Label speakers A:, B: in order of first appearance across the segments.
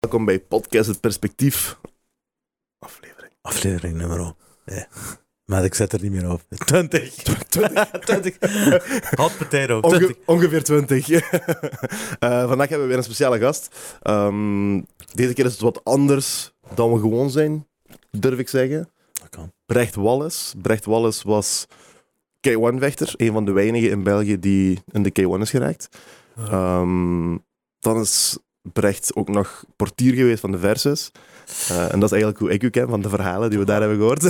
A: welkom bij Podcast Het Perspectief. Aflevering.
B: Aflevering nummer. Ja. Maar ik zet er niet meer op. 20. 20. Hot potato. 20.
A: Onge- ongeveer 20. Eh, vandaag hebben we weer een speciale gast. Ehm, deze keer is het wat anders dan we gewoon zijn, durf ik zeggen.
B: Dat kan.
A: Brecht Wallace. Brecht Wallace was K1-vechter. Een van de weinigen in België die in de K1 is geraakt.
B: Ah.
A: Ehm, dan is Brecht ook nog portier geweest van de Versus. Eh, en dat is eigenlijk hoe ik u ken, van de verhalen die we daar hebben gehoord.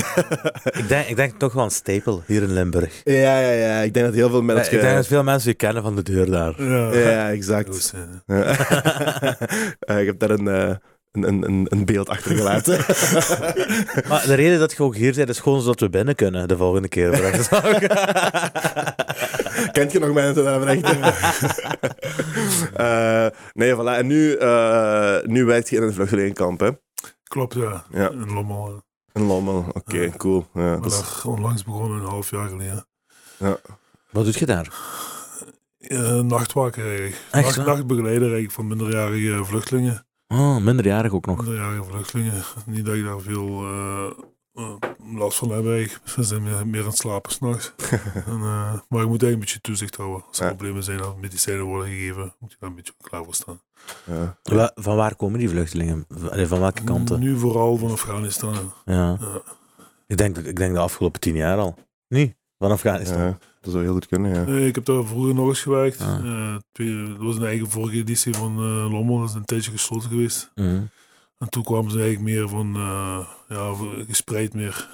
B: Ik denk, ik denk toch wel een stapel hier in Limburg.
A: ja, ja, ja. Ik denk dat heel veel
B: Ja,
A: mensen...
B: ik denk dat veel mensen je kennen van de deur daar.
C: Ja.
A: Ja, exact.
C: Roos, eh.
A: Ja. Eh, ik heb daar een, eh, een, een- een, een beeld achtergelaten.
B: Maar de reden dat je ook hier bent is gewoon zodat we binnen kunnen de volgende keer.
A: Kent je nog mensen daar echt? Eh, nee, voilà. En nu, eh, nu werkt je in een vluchtelingenkamp, hè?
C: Klopt, ja.
A: Ja.
C: In Lommel. eh.
A: In Lommel. Oké,
B: Ah.
A: cool. Ja,
C: Maar
A: dat is-
C: dat is onlangs begonnen, een half jaar geleden.
B: Wat doet je daar?
C: Eh, nachtwaker eigenlijk.
B: Echt
C: Nacht,
B: waar?
C: nachtbegeleider eigenlijk van minderjarige vluchtelingen.
B: Oh, minderjarig ook nog.
C: Minderjarige vluchtelingen. Niet dat ik daar veel eh, eh, last van heb eigenlijk. Ze zijn meer, meer aan het slapen s'nachts. eh, maar je moet eigenlijk een beetje toezicht houden. Als er
A: Ja.
C: problemen zijn, als medicijnen worden gegeven, moet je daar een beetje klaar voor staan.
A: ja.
B: Wa- Van waar komen die vluchtelingen? V- allee, Van welke kanten?
C: Nu vooral van Afghanistan.
B: Ja.
C: Mm. Ja.
B: Ik, denk, ik denk de afgelopen tien jaar al. Niet? Van Afghanistan.
A: Ja, dat zou heel goed kunnen, ja.
C: Nee, Eh, ik heb daar vroeger nog eens gewerkt.
B: Ah.
C: Eh, twee- dat was een eigen vorige editie van eh Lommel. Dat is een tijdje gesloten geweest.
B: Mhm.
C: En toen kwamen ze eigenlijk meer van, eh, ja, gespreid meer.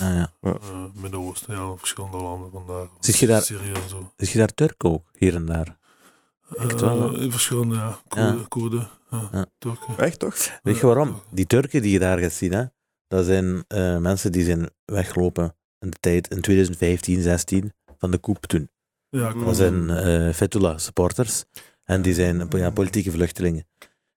B: Ah, ja.
C: eh Midden-Oosten, ja, verschillende landen vandaar.
B: Zit je daar-
C: Syrië en zo.
B: Is je daar Turk ook? Hier en daar. het wel,
C: Eh, verschillende, ja. Koerden, Koerden ja,
B: Ja.
C: Turken.
A: Echt toch?
B: Weet je waarom? Die Turken die je daar gaat zien, hè, dat zijn eh, mensen die zijn weggelopen in de tijd in 2015, 16 van de koep toen.
C: Ja,
A: Dat
C: klopt.
B: Dat zijn eh Fethullah supporters en die zijn ja, politieke vluchtelingen.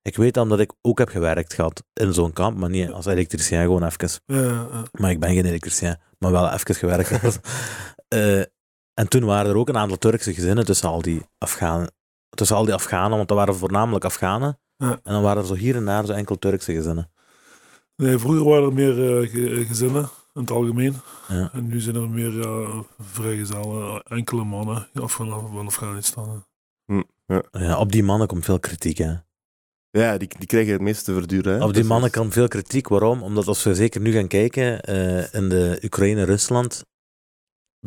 B: Ik weet dat omdat ik ook heb gewerkt gehad in zo'n kamp, maar niet als elektricien, gewoon even.
C: Ja, ja,
B: Maar ik ben geen elektricien, maar wel even gewerkt. Eh, en toen waren er ook een aantal Turkse gezinnen tussen al die Afghanen. Tussen al die Afghanen, want dat waren voornamelijk Afghanen.
C: Ja.
B: En dan waren er zo hier en daar zo enkel Turkse gezinnen.
C: Nee, vroeger waren er meer eh, ge- gezinnen, in het algemeen.
B: Ja.
C: En nu zijn er meer ja, vrijgezellen, enkele mannen af van, van Afghanistan.
B: Ja, op die mannen komt veel kritiek. Hè.
A: Ja, die, die krijgen het meeste te verduren, hè?
B: Op die
A: Dus-
B: mannen kan veel kritiek. Waarom? Omdat als we zeker nu gaan kijken eh, in de Oekraïne-Rusland,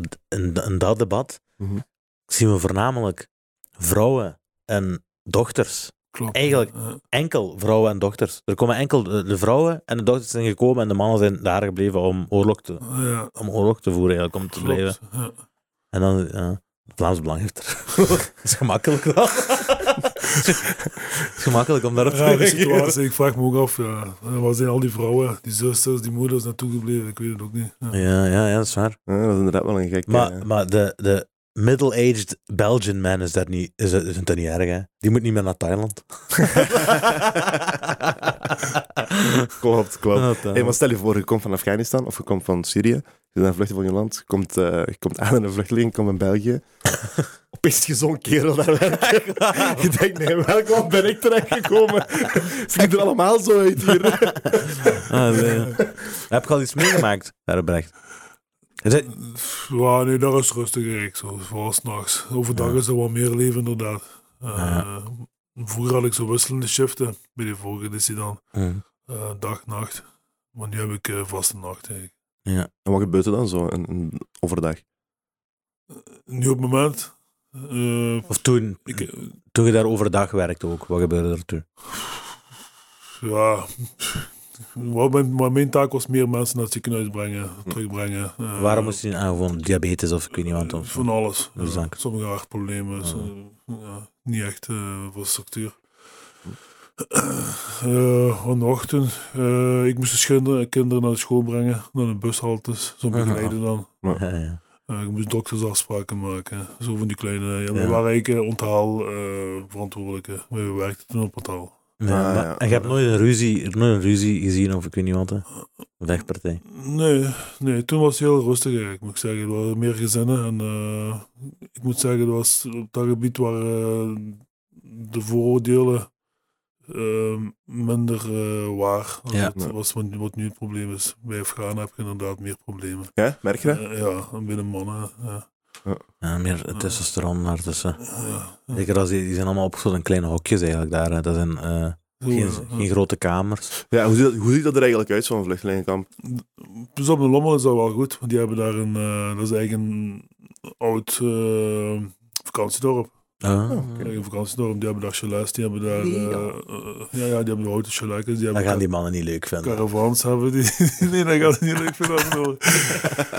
B: d- in, in dat debat,
A: Mhm.
B: zien we voornamelijk vrouwen en dochters.
C: Klopt.
B: Eigenlijk-
C: Ja.
B: Enkel vrouwen en dochters. Er komen enkel de, de vrouwen en de dochters zijn gekomen en de mannen zijn daar gebleven om oorlog te,
C: Ja,
B: om oorlog te voeren, eigenlijk, om te
C: klopt.
B: blijven.
C: Ja.
B: En dan, ja, Vlaams Belang heeft er. dat is gemakkelijk dan. Het is gemakkelijk om daarop te
C: Rare
B: reageren.
C: situatie. Ik vraag me ook af, ja. waar zijn al die vrouwen, die zusters, die moeders naartoe gebleven? Ik weet het ook niet. Ja.
B: Ja, ja, ja, dat is waar.
A: Ja, dat is inderdaad wel een gekke...
B: Maar,
A: ja.
B: maar de, de middle-aged Belgian man is dat niet, is, is dat niet erg, hè? Die moet niet meer naar Thailand.
A: klopt, klopt.
B: Naar
A: Hey, maar
B: Thailand.
A: stel je voor, je komt van Afghanistan of je komt van Syrië. Je bent een vluchting van je land. Je komt, eh, je komt aan in een vluchteling, komt in België. Opeens je zo'n kerel daar werkt. Je denkt, nee, in welk land ben ik terechtgekomen? Ziet er allemaal zo uit hier.
B: Ah, nee. Heb je al iets meegemaakt, Herbrecht? Is het-
C: Ja, nee, daar is rustig eigenlijk, zo, vooral s'nachts. Overdag
B: Ja.
C: is er wat meer leven, inderdaad. Eh,
B: Ja.
C: Vroeger had ik zo wisselende shiften, bij de vorige editie dan.
B: Hm.
C: Eh, dag, nacht. Maar nu heb ik eh, vaste nacht eigenlijk.
A: En wat gebeurt er dan zo een, een overdag?
C: Nu op het moment, eh,
B: Of toen,
C: ik, eh,
B: toen je daar overdag werkte ook, wat gebeurde er toen?
C: ja... Wat mijn, maar mijn taak was meer mensen naar het ziekenhuis brengen, terugbrengen. eh,
B: Hm. Waarom moest je aan gewoon diabetes of ik weet niet wat? Of,
C: Van alles.
B: Dus
C: Ja,
B: dank.
C: sommige hartproblemen.
B: Ah.
C: zo- ja, niet echt eh voor structuur.
B: Hm.
C: Eh vanochtend, eh, ik moest de kinderen, kinderen naar de school brengen, naar de bushaltes, zo
B: Ah.
C: begeleiden dan.
B: Ja, ja.
C: Eh, ik moest doktersafspraken maken, zo van die kleine. Ja,
B: Ja.
C: We waren eigenlijk eh, onthaal eh, verantwoordelijke, we werkten toen op onthaal.
B: Ja,
A: Ah,
B: maar-
A: ja.
B: En je hebt nooit een ruzie, nooit een ruzie gezien of ik weet niet wat? hè? Vechtpartij.
C: Nee, nee, toen was het heel rustig eigenlijk, moet ik zeggen. Er waren meer gezinnen en eh, ik moet zeggen, er was op dat gebied waar de vooroordelen eh, eh, minder eh, waar. Als
B: Ja.
C: het, was wat, wat nu het probleem is. Bij Afghanen heb je inderdaad meer problemen.
A: Ja, merk je dat?
C: Eh, ja, en binnen mannen. eh, ja.
B: Ja, meer testosteron daartussen.
C: Ja.
B: Zeker als die, die zijn allemaal opgesloten in kleine hokjes eigenlijk daar. hè. Dat zijn eh,
C: Zo,
B: geen,
C: eh,
B: geen grote kamers.
A: Ja, hoe ziet, dat, hoe ziet dat er eigenlijk uit, zo'n vluchtelingenkamp?
C: Dus op de Lommel is dat wel goed, want die hebben daar een, eh, dat is eigenlijk een oud eh, vakantiedorp.
B: Ah.
A: oké.
C: Eigenlijk Een vakantiedorp, die hebben daar chalets, die hebben daar, eh, eh, ja, ja, die hebben houten chalets, die
B: Dat
C: hebben
B: gaan die mannen niet leuk vinden.
C: caravans hebben, die, nee, dat gaat het niet leuk vinden. afgelopen.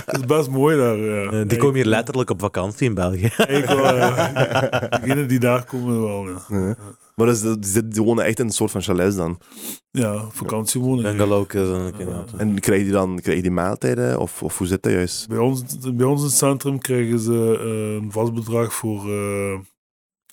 C: Het is best mooi daar. Ja.
B: Eh, die komen hier letterlijk op vakantie in België.
C: Ik wel, ja. Degenen die daar komen wel, ja.
A: Nee. Maar dus, die, die die wonen echt in een soort van chalets dan.
C: Ja, vakantiewoning.
B: Bungalow is
C: Ah,
B: een ja.
A: En krijgen die dan krijgen die maaltijden? Of, of hoe zit dat juist?
C: Bij ons, bij ons in het centrum krijgen ze eh, een vast bedrag voor eh,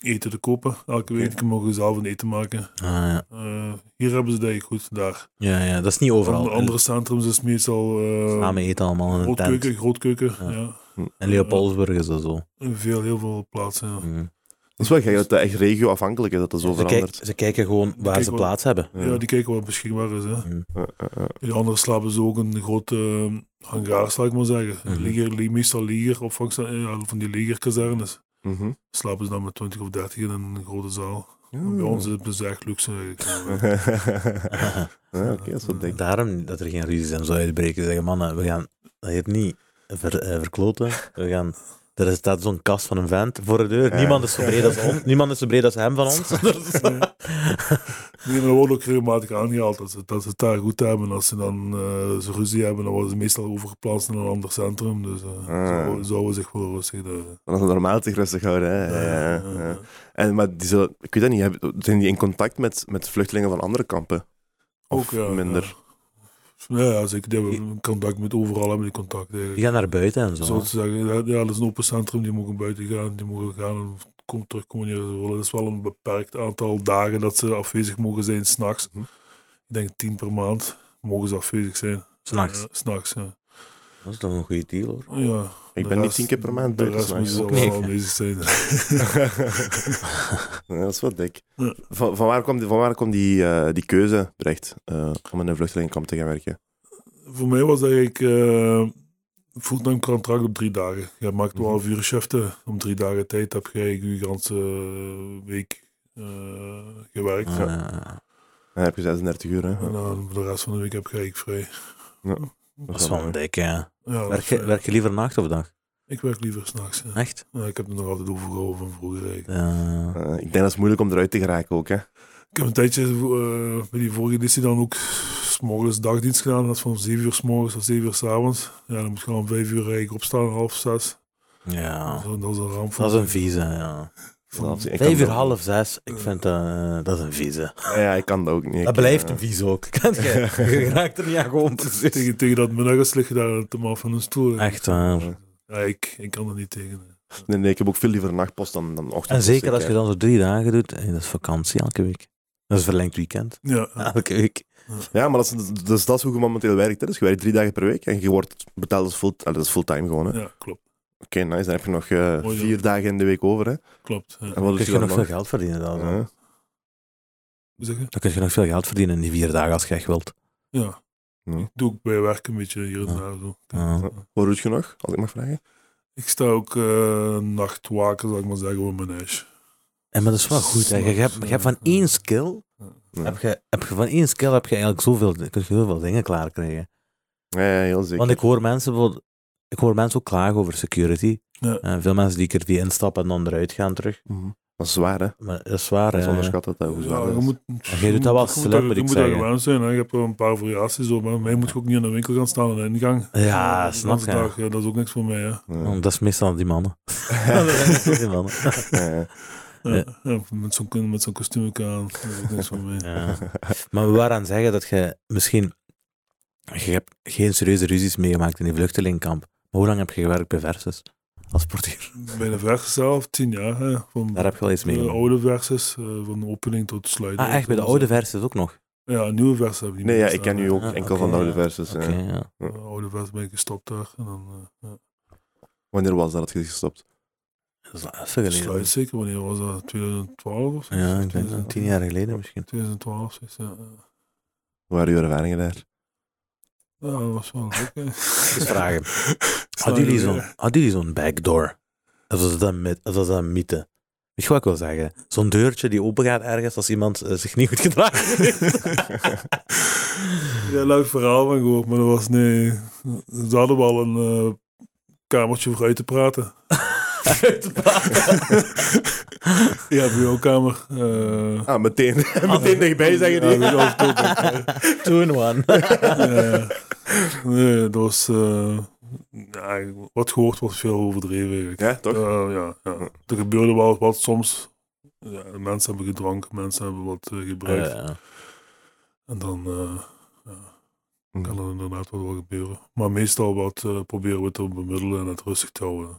C: eten te kopen. Elke week mogen ze zelf een eten maken.
B: Ah, ja.
C: Eh, hier hebben ze dat eigenlijk goed, daar.
B: Ja, ja, dat is niet overal.
C: Andere, andere centrums is meestal eh
B: Samen eten allemaal in een
C: grootkeuken,
B: tent.
C: grootkeuken. Ja.
B: Ja. In Leopoldsburg is dat zo.
C: In Veel, heel veel plaatsen. Ja.
B: Mm.
A: Dat is wel gek dat dat echt regioafhankelijk is, dat dat zo
B: Ze, kijk-
A: verandert.
B: ze kijken gewoon waar
C: kijken
B: ze
C: wel-
B: plaats hebben.
A: Ja.
C: Ja, die kijken wat beschikbaar is. Hè.
B: Mm.
A: Eh, eh, eh.
C: De anderen slapen ze ook in grote eh, hangars, zal ik maar zeggen.
B: Mhm.
C: Leger- li- meestal leger, opvangst, ja, van die legerkazernes.
A: Mhm.
C: Slapen ze dan met 20 of 30 in een grote zaal.
A: Ja.
C: Bij ons is het dus echt luxe. eigenlijk. Ja.
A: ja, Ah, oké, dat is wat dik.
B: Daarom dat er geen ruzies en zo uitbreken. Zeggen mannen, we gaan dat heet niet ver- eh, verkloten. We gaan, er staat zo'n kast van een vent voor de deur.
A: Ja.
B: Niemand is zo breed als ons. Niemand is zo breed als hem van ons.
C: Nee, maar dat wordt ook regelmatig aangehaald dat ze, dat ze het daar goed hebben. Als ze dan eh, ze ruzie hebben, dan worden ze meestal overgeplaatst naar een ander centrum. Dus eh
A: Ah.
C: zouden zouden zich wel rustig daar.
A: Dan is het normaal zich rustig houden. Hè? Ja, ja,
C: eh,
A: ja. En, maar die zullen, ik weet dat niet, hebben- zijn die in contact met, met vluchtelingen van andere kampen? Of
C: ja,
A: minder?
C: Ja, ja, ja, zeker. Die hebben contact met overal hebben die contact eigenlijk.
B: Die gaan naar buiten en zo.
C: Zo te zeggen, ja, ja, dat is een open centrum, die mogen buiten gaan, die mogen gaan en kom, terugkomen wanneer ze willen. Dat is wel een beperkt aantal dagen dat ze afwezig mogen zijn, s'nachts.
A: Mhm.
C: Ik denk tien per maand mogen ze afwezig zijn.
B: S'nachts.
C: Ja, s'nachts, ja.
B: Dat is toch een goede deal hoor.
C: ja.
A: Ik
C: de
A: ben niet
C: rest-
A: tien keer per maand
C: De
A: buiten.
C: rest moeten
A: s'nachts.
C: ze
B: Nee.
C: wel aanwezig zijn.
A: Ja, dat is wel dik.
C: Ja.
A: Van, van waar kwam die, van waar kwam die, eh, die keuze, Brecht, eh, om in een vluchtelingenkamp te gaan werken?
C: Voor mij was dat ik eh fulltime contract op drie dagen. Je maakt
B: Mhm.
C: 12 uur shiften. Om drie dagen tijd heb jij je ganse week eh, gewerkt.
B: Ah, ja, ja.
A: Dan heb je 36 uur, hè?
C: En dan voor de rest van de week heb je eigenlijk vrij.
B: dat is wel een dik, ja.
C: Ja,
B: Werk
C: dat
B: je,
C: is- eh,
B: werk je liever nacht of dag?
C: Ik werk liever s'nachts. Ja.
B: Echt?
C: Ja, ik heb er nog altijd overgehouden van vroeger. eigenlijk.
B: Ja.
A: Eh, ik denk dat het moeilijk om eruit te geraken ook, hè?
C: Ik heb een tijdje eh, bij die vorige editie dan ook s'morgens dagdienst gedaan. Dat is van 7 uur s'morgens tot 7 uur s'avonds. Ja, dan moet je gewoon om 5 uur eigenlijk opstaan, half 6.
B: ja.
C: Dat is een ramp. voor
B: Ah. Dat is een
C: mij.
B: vieze, ja.
C: Van-
A: Ik kan
B: Vijf uur
A: dat-
B: half zes, ik vind dat, eh, dat is een vieze.
A: Ja, ik kan dat ook niet.
B: Dat
A: Ik,
B: blijft
A: eh,
B: een vieze ook. Kent jij? Je raakt er niet aan gewoon precies.
C: tegen, tegen dat middags lig je daar te maar van een stoel.
B: Echt eh, waar.
C: Ja, ik, ik kan er niet tegen.
A: Nee, nee, ik heb ook veel liever een nachtpost dan, dan ochtend. Dus
B: En zeker als je dan zo drie dagen doet, en dat is vakantie elke week. Dat is verlengd weekend.
C: Ja,
A: Ah,
B: Elke week.
A: Ja, maar dat is, dat is, dat is hoe je momenteel werkt. Hè. Dus je werkt drie dagen per week en je wordt betaald als full, eh, dat is fulltime gewoon. Hè. Oké,
C: ja klopt.
A: nice. Dan heb je nog eh,
C: Mooi, ja.
A: vier dagen in de week over. Hè.
C: klopt ja.
A: En wat
B: Dan
A: is
B: kun
A: dan
B: je nog veel
A: nog?
B: geld verdienen. Dan,
A: Ja.
C: Hoe zeg je?
B: dan kun je nog veel geld verdienen in die vier dagen als je echt wilt.
C: Ja.
A: Ja.
C: Ik doe ook bij werk een beetje hier en
B: Ja.
C: daar. Zo.
B: Ja.
A: Hm. Wat doet je nog, als ik mag vragen?
C: Ik sta ook eh, nachtwaker, zal ik maar zeggen, op mijn huis.
B: En maar dat is wel goed. Hè. Je, hebt, je hebt van één skill,
A: Ja.
B: heb je, heb je van één skill heb je eigenlijk zoveel, kun je zoveel dingen klaar krijgen.
A: Ja, ja, heel zeker.
B: Want ik hoor mensen bijvoorbeeld- ik hoor mensen ook klagen over security.
C: Ja.
B: Eh, veel mensen die er die instappen en dan eruit gaan terug.
A: Mhm. Dat is zwaar, hè?
B: Maar dat is waar.
A: Dat is
B: eh,
A: onderschat dat, dat, hoe zwaar
C: Ja,
A: dat
C: je
A: is.
C: moet,
B: jij doet dat wel
C: je
B: slap,
C: daar-
B: moet
C: je
B: ik
C: moet daar
B: zeggen.
C: gewend zijn. Hè. Je hebt wel een paar variaties op. Maar mij moet je ook niet aan de winkel gaan staan aan de ingang.
B: Ja,
C: De
B: snap
C: ganse
B: je.
C: dag, ja, Dat is ook niks voor mij. Hè.
A: Ja.
B: want dat is meestal die mannen. dat zijn meestal die mannen.
A: Ja, ja.
C: Ja,
B: Ja.
C: ja, met zo'n met zo'n kostuum aan. Dat is ook niks voor mij.
B: Ja. Maar we waren aan het zeggen dat je misschien... Je hebt geen serieuze ruzies meegemaakt in die vluchtelingkamp. Maar hoe lang heb je gewerkt bij Versus? Als portier.
C: Bij de vers zelf, tien jaar. Hè. Van
B: Daar heb je wel iets
C: de
B: meegemaakt.
C: oude verses, eh, van de opening tot sluiting.
B: Ah, echt? Bij de oude Versus ook nog?
C: Ja, nieuwe vers heb ik niet
A: Nee, ja,
C: meer
A: ik
C: gestaan,
A: ken nu
C: hè.
A: ook
B: Ah,
A: enkel
B: oké,
A: van de oude
C: ja.
A: versus. ja.
B: Oké, ja.
C: De oude vers ben ik gestopt daar. En dan, eh, ja.
A: Wanneer was dat dat je is gestopt?
B: Dat is lastig geleden.
C: Sluit zeker, wanneer was dat? 2012 of zo?
B: Ja, ik denk dat tien jaar geleden misschien.
C: 2012, zoiets, ja.
A: Hoe waren uw ervaringen daar?
C: Ja, dat was wel leuk. hè.
B: Dus vragen.
C: Sluit
B: Hadden jullie
C: weer.
B: zo'n hadden jullie zo'n backdoor? Dat was dat, mythe, dat was dat mythe. Weet je wat ik wil zeggen? Zo'n deurtje die open gaat ergens als iemand eh, zich niet goed gedraagt heeft.
C: Ja, leuk verhaal van gehoord, maar dat was nee. Ze hadden wel een eh, kamertje voor uit te praten. Ja, bureaukamer. eh
A: Ah, meteen, meteen dichtbij zeggen
C: ja,
A: die.
C: weet je wel, of het ook, hè.
B: Two in one.
C: Eh, nee, dat was. eh, ja, wat gehoord was veel overdreven. eigenlijk.
A: Ja, toch?
C: Eh, ja, ja. Er gebeurde wel wat soms. Ja, mensen hebben gedronken, mensen hebben wat eh, gebruikt.
B: Eh,
C: En dan eh,
A: Hm.
C: kan er inderdaad wat wel gebeuren. Maar meestal wat eh, proberen we te bemiddelen en het rustig te houden.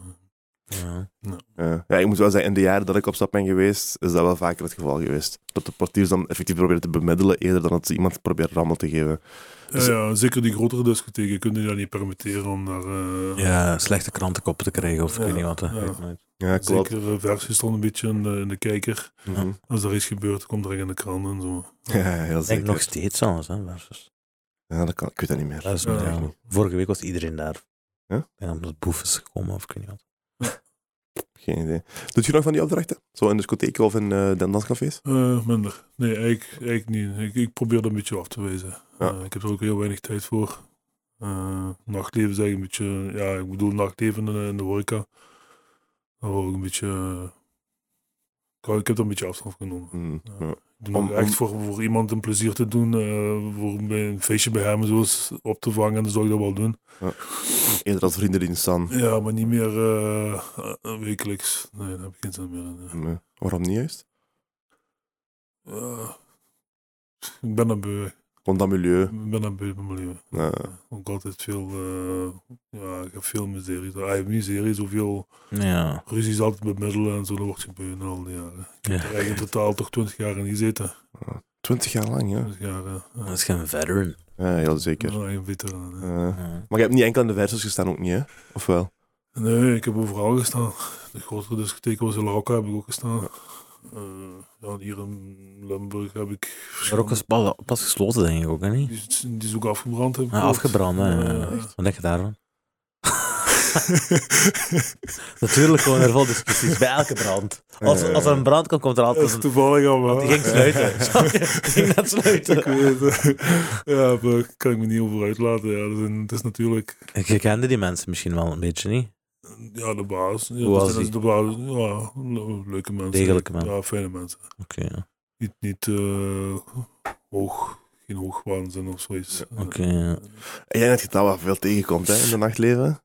B: ja.
A: Eh, Ja. ja, ik moet wel zeggen, in de jaren dat ik op stap ben geweest, is dat wel vaker het geval geweest. Dat de portiers dan effectief proberen te bemiddelen, eerder dan dat ze iemand proberen rammel te geven. Dus-
C: ja, ja, zeker die grotere discotheken kunnen je dat niet permitteren om daar... eh,
B: ja, slechte krantenkoppen te krijgen of ik
C: Ja,
B: weet niet wat. hè.
C: ja.
B: Weet ik nooit.
A: Ja, klopt.
C: Zeker eh, versie stond een beetje in de, in de kijker.
A: Mhm.
C: Als er iets gebeurt, komt er in de krant en zo.
A: Ja, heel
B: Ik denk
A: zeker.
B: nog steeds trouwens. Hè, versus.
A: Ja, dat kan, ik weet dat niet meer.
B: Dat is
C: Ja.
B: niet echt niet. Vorige week was iedereen daar.
A: Ja?
B: En omdat Boef is gekomen of ik weet niet wat.
A: Geen idee. Doet je nog van die opdrachten? Zo in discotheken of in eh, dan- danscafés?
C: Eh, minder. Nee, eigenlijk, eigenlijk niet. Ik, ik probeer dat een beetje af te wijzen.
A: Ja.
C: Eh, ik heb er ook heel weinig tijd voor. Eh, nachtleven is eigenlijk een beetje... Ja, ik bedoel nachtleven in de, in de horeca. Daar word ik een beetje... eh, ik- ik heb er een beetje afstand van genomen.
A: Mhm.
C: Ja.
A: Ja.
C: Ik doe dat
A: Om-
C: echt
A: om-
C: Voor, voor iemand een plezier te doen. eh, voor bij een feestje bij hem en zo eens op te vangen. Dan zou ik dat wel doen.
A: Eerder als vriendendienst dan.
C: Ja, maar niet meer eh, eh, wekelijks. Nee, daar heb ik geen zin meer in. ja.
A: Nee. Mm, Waarom niet juist?
C: Eh, ik ben er beu.
A: Gewoon dat milieu. eh,
C: Ik ben er beu van mijn leven.
A: Ja.
C: Ook altijd veel, eh, ja, ik heb veel miserie. Ah, ja, miserie, zoveel
B: Ja.
C: ruzies altijd bemiddelen en zo, dat wordt gebeuren al die jaren. Ik
B: Ja.
C: heb er eigenlijk in totaal toch twintig jaar in gezeten.
A: Twintig jaar lang, ja.
C: 20 jaar, eh, ja.
B: Dat is geen veteran.
A: Ja, heel
C: Ik ben
A: zeker.
C: wel een veteraan. hè.
A: Ja.
B: Ja.
A: Eh, Maar je hebt niet enkel aan de versus gestaan ook niet, hè? Of wel?
C: Nee, ik heb overal gestaan. De grotere discotheek was in Larocca, heb ik ook gestaan. Eh, ja, hier in Limburg heb ik...
B: Maar ook is pas, pas gesloten, denk ik ook, hè, niet?
C: Die, is- die is ook afgebrand, heb ik
B: Ja,
C: gehoord.
B: Ah, afgebrand, hè.
C: Ja, ja.
B: Wat denk je daarvan? Natuurlijk gewoon er vol discussies bij elke brand. Als, als er een brand komt, komt er
C: Dat
B: altijd
C: is
B: een...
C: toevallig allemaal.
B: Die ging sluiten. Snap je? Die ging net
C: Ik
B: sluiten.
C: weet het. Ja, daar kan ik me niet over uitlaten. Ja, dat is, het is natuurlijk...
B: Je kende die mensen misschien wel een beetje, niet?
C: Ja, de baas. Ja,
B: Hoe
C: dat
B: was
C: zijn dus
B: die?
C: De baas. Ja, le- leuke mensen.
B: Degelijke mensen.
C: Ja, fijne mensen.
B: Oké, ja.
C: Niet, niet eh, hoog, geen hoogwaanzin of zoiets.
B: Oké, ja.
A: En jij net gedaan wat veel tegenkomt, hè, in het nachtleven?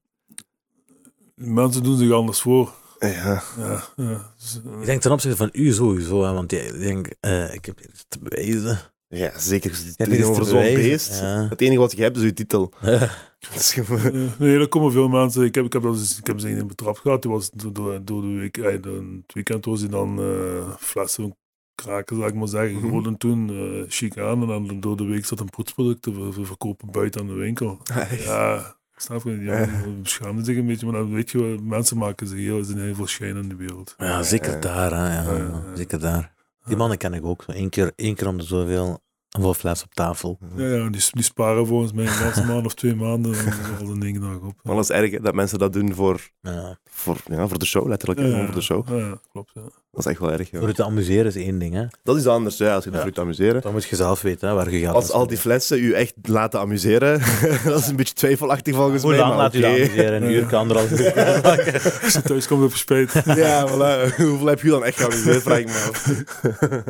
C: Mensen doen zich anders voor.
A: Ja.
C: Ja, ja. Dus, eh,
B: Ik denk ten opzichte van u sowieso, hè, want jij- ik denk, eh, ik heb iets te bewijzen.
A: Ja, zeker. Het
B: Ik heb
A: is
B: iets te
A: over zo'n
B: bewijzen.
A: beest. Het enige wat je hebt is je titel.
B: Ja.
A: Dat is gewoon-
C: eh, nee, er komen veel mensen. Ik heb, ik heb, dat eens- ik heb ze in betrap gehad. Die was door, door, door de week, eh, door het weekend was hij dan eh, flessen kraken, zou ik maar zeggen.
A: Mhm.
C: Gewoon en toen eh chic aan. En dan door de week zat een poetsproduct te ver- ver- verkopen buiten aan de winkel. Ja, ik snap het. Ja,
A: Ja.
C: die beschaamden zich een beetje, maar dan weet je, wel, mensen maken zich heel, zijn heel veel schijn in de wereld.
B: Ja, zeker
A: Eh,
B: daar, hè, ja,
C: eh,
B: ja,
C: eh.
B: zeker daar. Die
C: Ja.
B: mannen ken ik ook. zo één keer, één keer om de zoveel een vol fles op tafel.
A: Mhm.
C: Ja, ja die, die sparen volgens mij een laatste maand of twee maanden en dan is al een ding dag op.
A: Maar dat is erg hè, dat mensen dat doen voor,
B: Ja.
A: voor, ja, voor de show, letterlijk. hè, gewoon Voor de show.
C: Ja, ja, klopt. Ja.
A: Dat is echt wel erg. ja.
B: Voor je te amuseren is één ding, hè.
A: Dat is anders, ja, als je
B: Ja.
A: ervoor te amuseren.
B: Dan moet je zelf weten hè, waar je gaat.
A: Als al die flessen u echt laten amuseren, dat is een beetje twijfelachtig volgens
B: Hoe
A: mij.
B: lang
A: maar
B: laat u
A: oké.
B: dat amuseren? Een uur, kan anderhalf uur.
C: Als je thuis komt, heb je spijt.
A: Ja, voilà. Hoeveel heb je dan echt geamuseerd, vraag ik me af.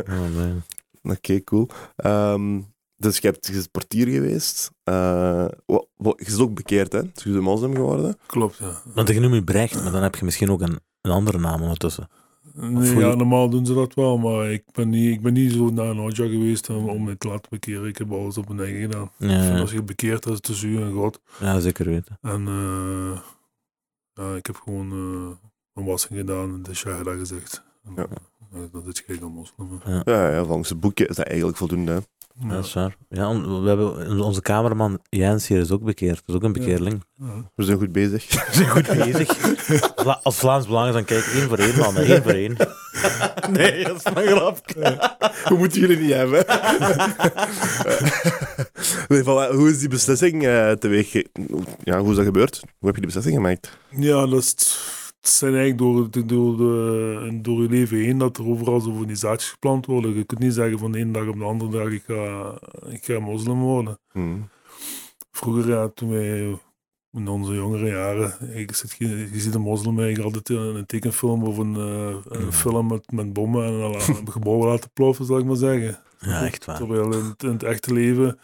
B: Oh, nee.
A: Oké, cool. Ehm, dus je, hebt, je bent portier geweest. Eh, wa- wa- je is ook bekeerd, hè? Dus je bent moslim geworden.
C: Klopt, ja.
B: Want ik noem je Brecht, maar dan heb je misschien ook een, een andere naam ondertussen.
C: Nee,
B: voel je-
C: ja, normaal doen ze dat wel, maar ik ben niet, ik ben niet zo naar een hotja geweest om, om het te laten bekeren. Ik heb alles op mijn eigen gedaan. En
B: Ja,
C: Als je bekeert, dat is tussen u en God.
B: ja zeker weten.
C: En eh, ja, ik heb gewoon eh, een wassing gedaan en de shahada gezegd. En,
A: Ja.
C: eh, dat is geen moslim. hè.
A: Ja, ja, volgens het boekje is dat eigenlijk voldoende. hè.
B: Ja, dat is waar. Ja, on- we hebben, onze cameraman Jens hier is ook bekeerd. Dat is ook een
C: Ja.
B: bekeerling.
C: Ja.
A: We zijn goed bezig.
B: We zijn goed bezig. Vla- Als Vlaams Belang is, dan kijk één voor één, man. Één voor één. Nee, dat is een grap.
A: We moeten jullie niet hebben. nee, voilà, hoe is die beslissing eh teweeg? ge- Ja, hoe is dat gebeurd? Hoe heb je die beslissing gemaakt?
C: Ja, dat is, het zijn eigenlijk door, de- door, de, door je leven heen dat er overal zo'n organisaties gepland worden. Je kunt niet zeggen van de ene dag op de andere dag, ik ga, ik ga moslim worden.
A: Hm.
C: Vroeger, ja, toen wij in onze jongere jaren, ik zit, je, je ziet een moslim eigenlijk altijd in een tekenfilm of een, eh,
B: Mhm.
C: een film met, met bommen en al- een gebouw laten ploffen, zal ik maar zeggen.
B: Ja, echt waar.
C: Terwijl in, het- in het echte leven,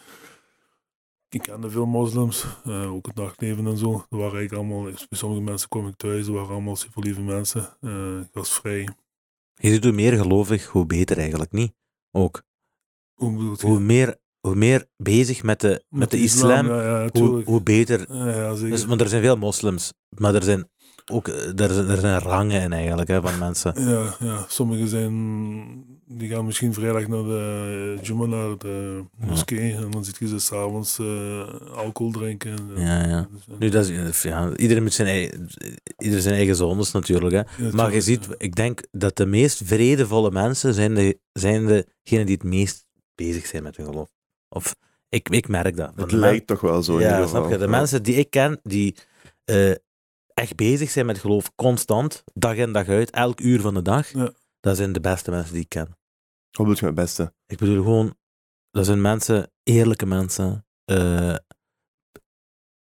C: ik kende veel moslims, eh, ook het nachtleven en zo. Er waren eigenlijk allemaal, bij sommige mensen kwam ik thuis, er waren allemaal super lieve mensen. eh, ik was vrij.
B: Je ziet hoe meer gelovig, hoe beter eigenlijk, niet? Ook.
C: Hoe bedoel je?
B: Hoe meer, hoe meer bezig met de, met de islam,
C: Ja, ja,
B: hoe,
C: tuurlijk.
B: hoe beter.
C: Ja, ja, zeker.
B: Dus, want er zijn veel moslims, maar er zijn ook eh, er zijn, er zijn rangen in eigenlijk hè, van mensen.
C: Ja, ja, sommigen zijn, die gaan misschien vrijdag naar de eh, Juma, naar de
B: Ja.
C: moskee. En dan zit je ze s'avonds eh alcohol drinken. en-
B: Ja, ja.
C: dus, eh,
B: Nu, dat is, ja, iedereen moet zijn eigen, ieder zijn eigen zones natuurlijk. Hè.
C: ja,
B: Maar je
C: tuurlijk,
B: ziet,
C: ja.
B: ik denk dat de meest vredevolle mensen zijn, de, zijn degenen die het meest bezig zijn met hun geloof. Of ik, ik merk dat.
A: Het
B: Want de men-
A: lijkt toch wel zo. in
B: ja,
A: ieder
B: snap
A: geval.
B: je? De
A: Ja.
B: mensen die ik ken, die eh, echt bezig zijn met geloof, constant, dag in dag uit, elk uur van de dag,
C: Ja.
B: dat zijn de beste mensen die ik ken.
A: Wat bedoel je met beste?
B: Ik bedoel gewoon, dat zijn mensen, eerlijke mensen, eh,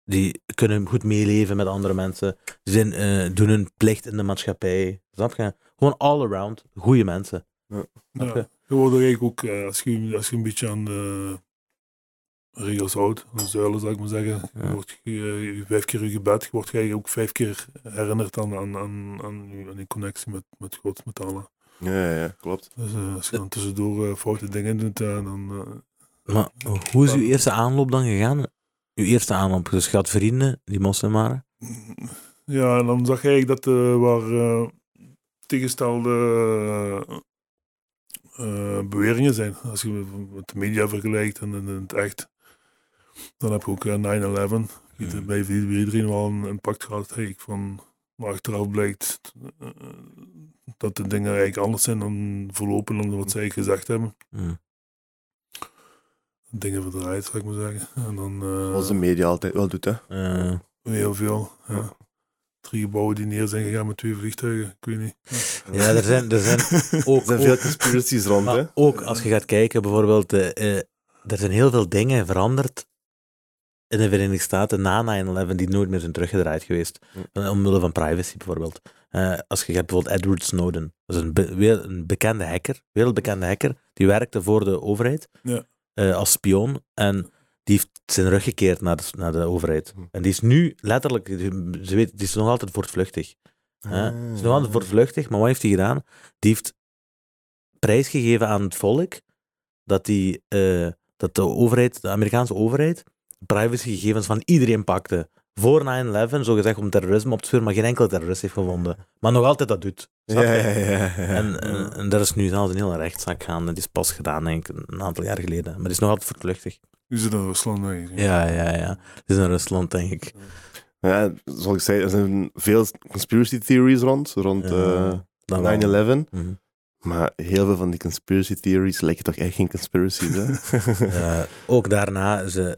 B: die kunnen goed meeleven met andere mensen, die zijn, eh, doen hun plicht in de maatschappij, snap je? Gewoon all around, goede mensen.
C: Ja.
B: Oké.
C: Je wordt er eigenlijk ook, eh, als je, als je een beetje aan de regels houdt, aan de zuilen zou ik maar zeggen,
B: Ja.
C: wordt je, eh, je vijf keer je gebed, wordt je eigenlijk ook vijf keer herinnerd aan, aan, aan, aan, je- aan die connectie met, met God, met Allah.
A: Ja, ja, ja, klopt.
C: Dus eh, als je dan tussendoor eh, foute dingen doet, eh, dan... eh,
B: Maar hoe is uw eerste aanloop dan gegaan? Uw eerste aanloop, dus je had vrienden die moslim waren?
C: Ja, en dan zag je eigenlijk dat eh waar eh, tegenstelde eh, eh, beweringen zijn. Als je met- met de media vergelijkt en in het echt. Dan heb je ook eh, 9-11. Ieder-
B: Mhm.
C: Bij bij iedereen wel een impact gehad. eigenlijk van, maar achteraf blijkt eh, dat de dingen eigenlijk anders zijn dan verlopen dan wat zij gezegd hebben.
B: Mm.
C: Dingen verdraaid, zou ik maar zeggen. En dan, eh,
A: Zoals de media altijd wel doet, hè.
B: Eh,
C: Heel veel. Ja.
A: Ja.
C: Drie gebouwen die neer zijn gegaan met twee vliegtuigen. Ik weet niet.
B: ja, er zijn, er zijn ook, Ah,
A: Er zijn veel
B: ook,
A: conspiracies rond, hè.
B: maar ook als je gaat kijken, bijvoorbeeld, eh, eh, er zijn heel veel dingen veranderd in de Verenigde Staten na 9-11 die nooit meer zijn teruggedraaid geweest.
A: Hm.
B: Eh, Omwille van privacy bijvoorbeeld. Eh, als je hebt bijvoorbeeld Edward Snowden, dat is een, be- wel- een bekende hacker, wereldbekende hacker, die werkte voor de overheid
C: Ja.
B: eh, als spion en die heeft zijn rug gekeerd naar de, naar de overheid.
A: Hm.
B: En die is nu letterlijk, die- ze weet, die is nog altijd voortvluchtig. Hè?
A: Ah,
B: Het is nog altijd voortvluchtig, maar wat heeft hij gedaan? Die heeft prijsgegeven aan het volk dat, die, eh, dat de overheid, de Amerikaanse overheid, privacygegevens van iedereen pakte. Voor 9-11, zogezegd om terrorisme op te vuren, maar geen enkele terrorist heeft gevonden. Maar nog altijd dat doet.
A: Ja,
B: Snap je?
A: ja, ja. ja, ja.
B: En, en, en daar is nu zelfs een hele rechtszaak gaande. Die is pas gedaan, denk ik, een aantal jaar geleden. Maar die is nog altijd voortvluchtig.
C: Nu zit in Rusland eigenlijk.
B: Ja, ja, ja. Die is in Rusland, denk ik.
A: Ja, zoals ik zei, er zijn veel conspiracy theories rond, rond
B: Ja,
A: eh,
B: Dan wel.
A: 9-11.
B: Mhm.
A: Maar heel veel van die conspiracy theories lijken toch echt geen conspiracies, hè?
B: Eh, ook daarna is eh,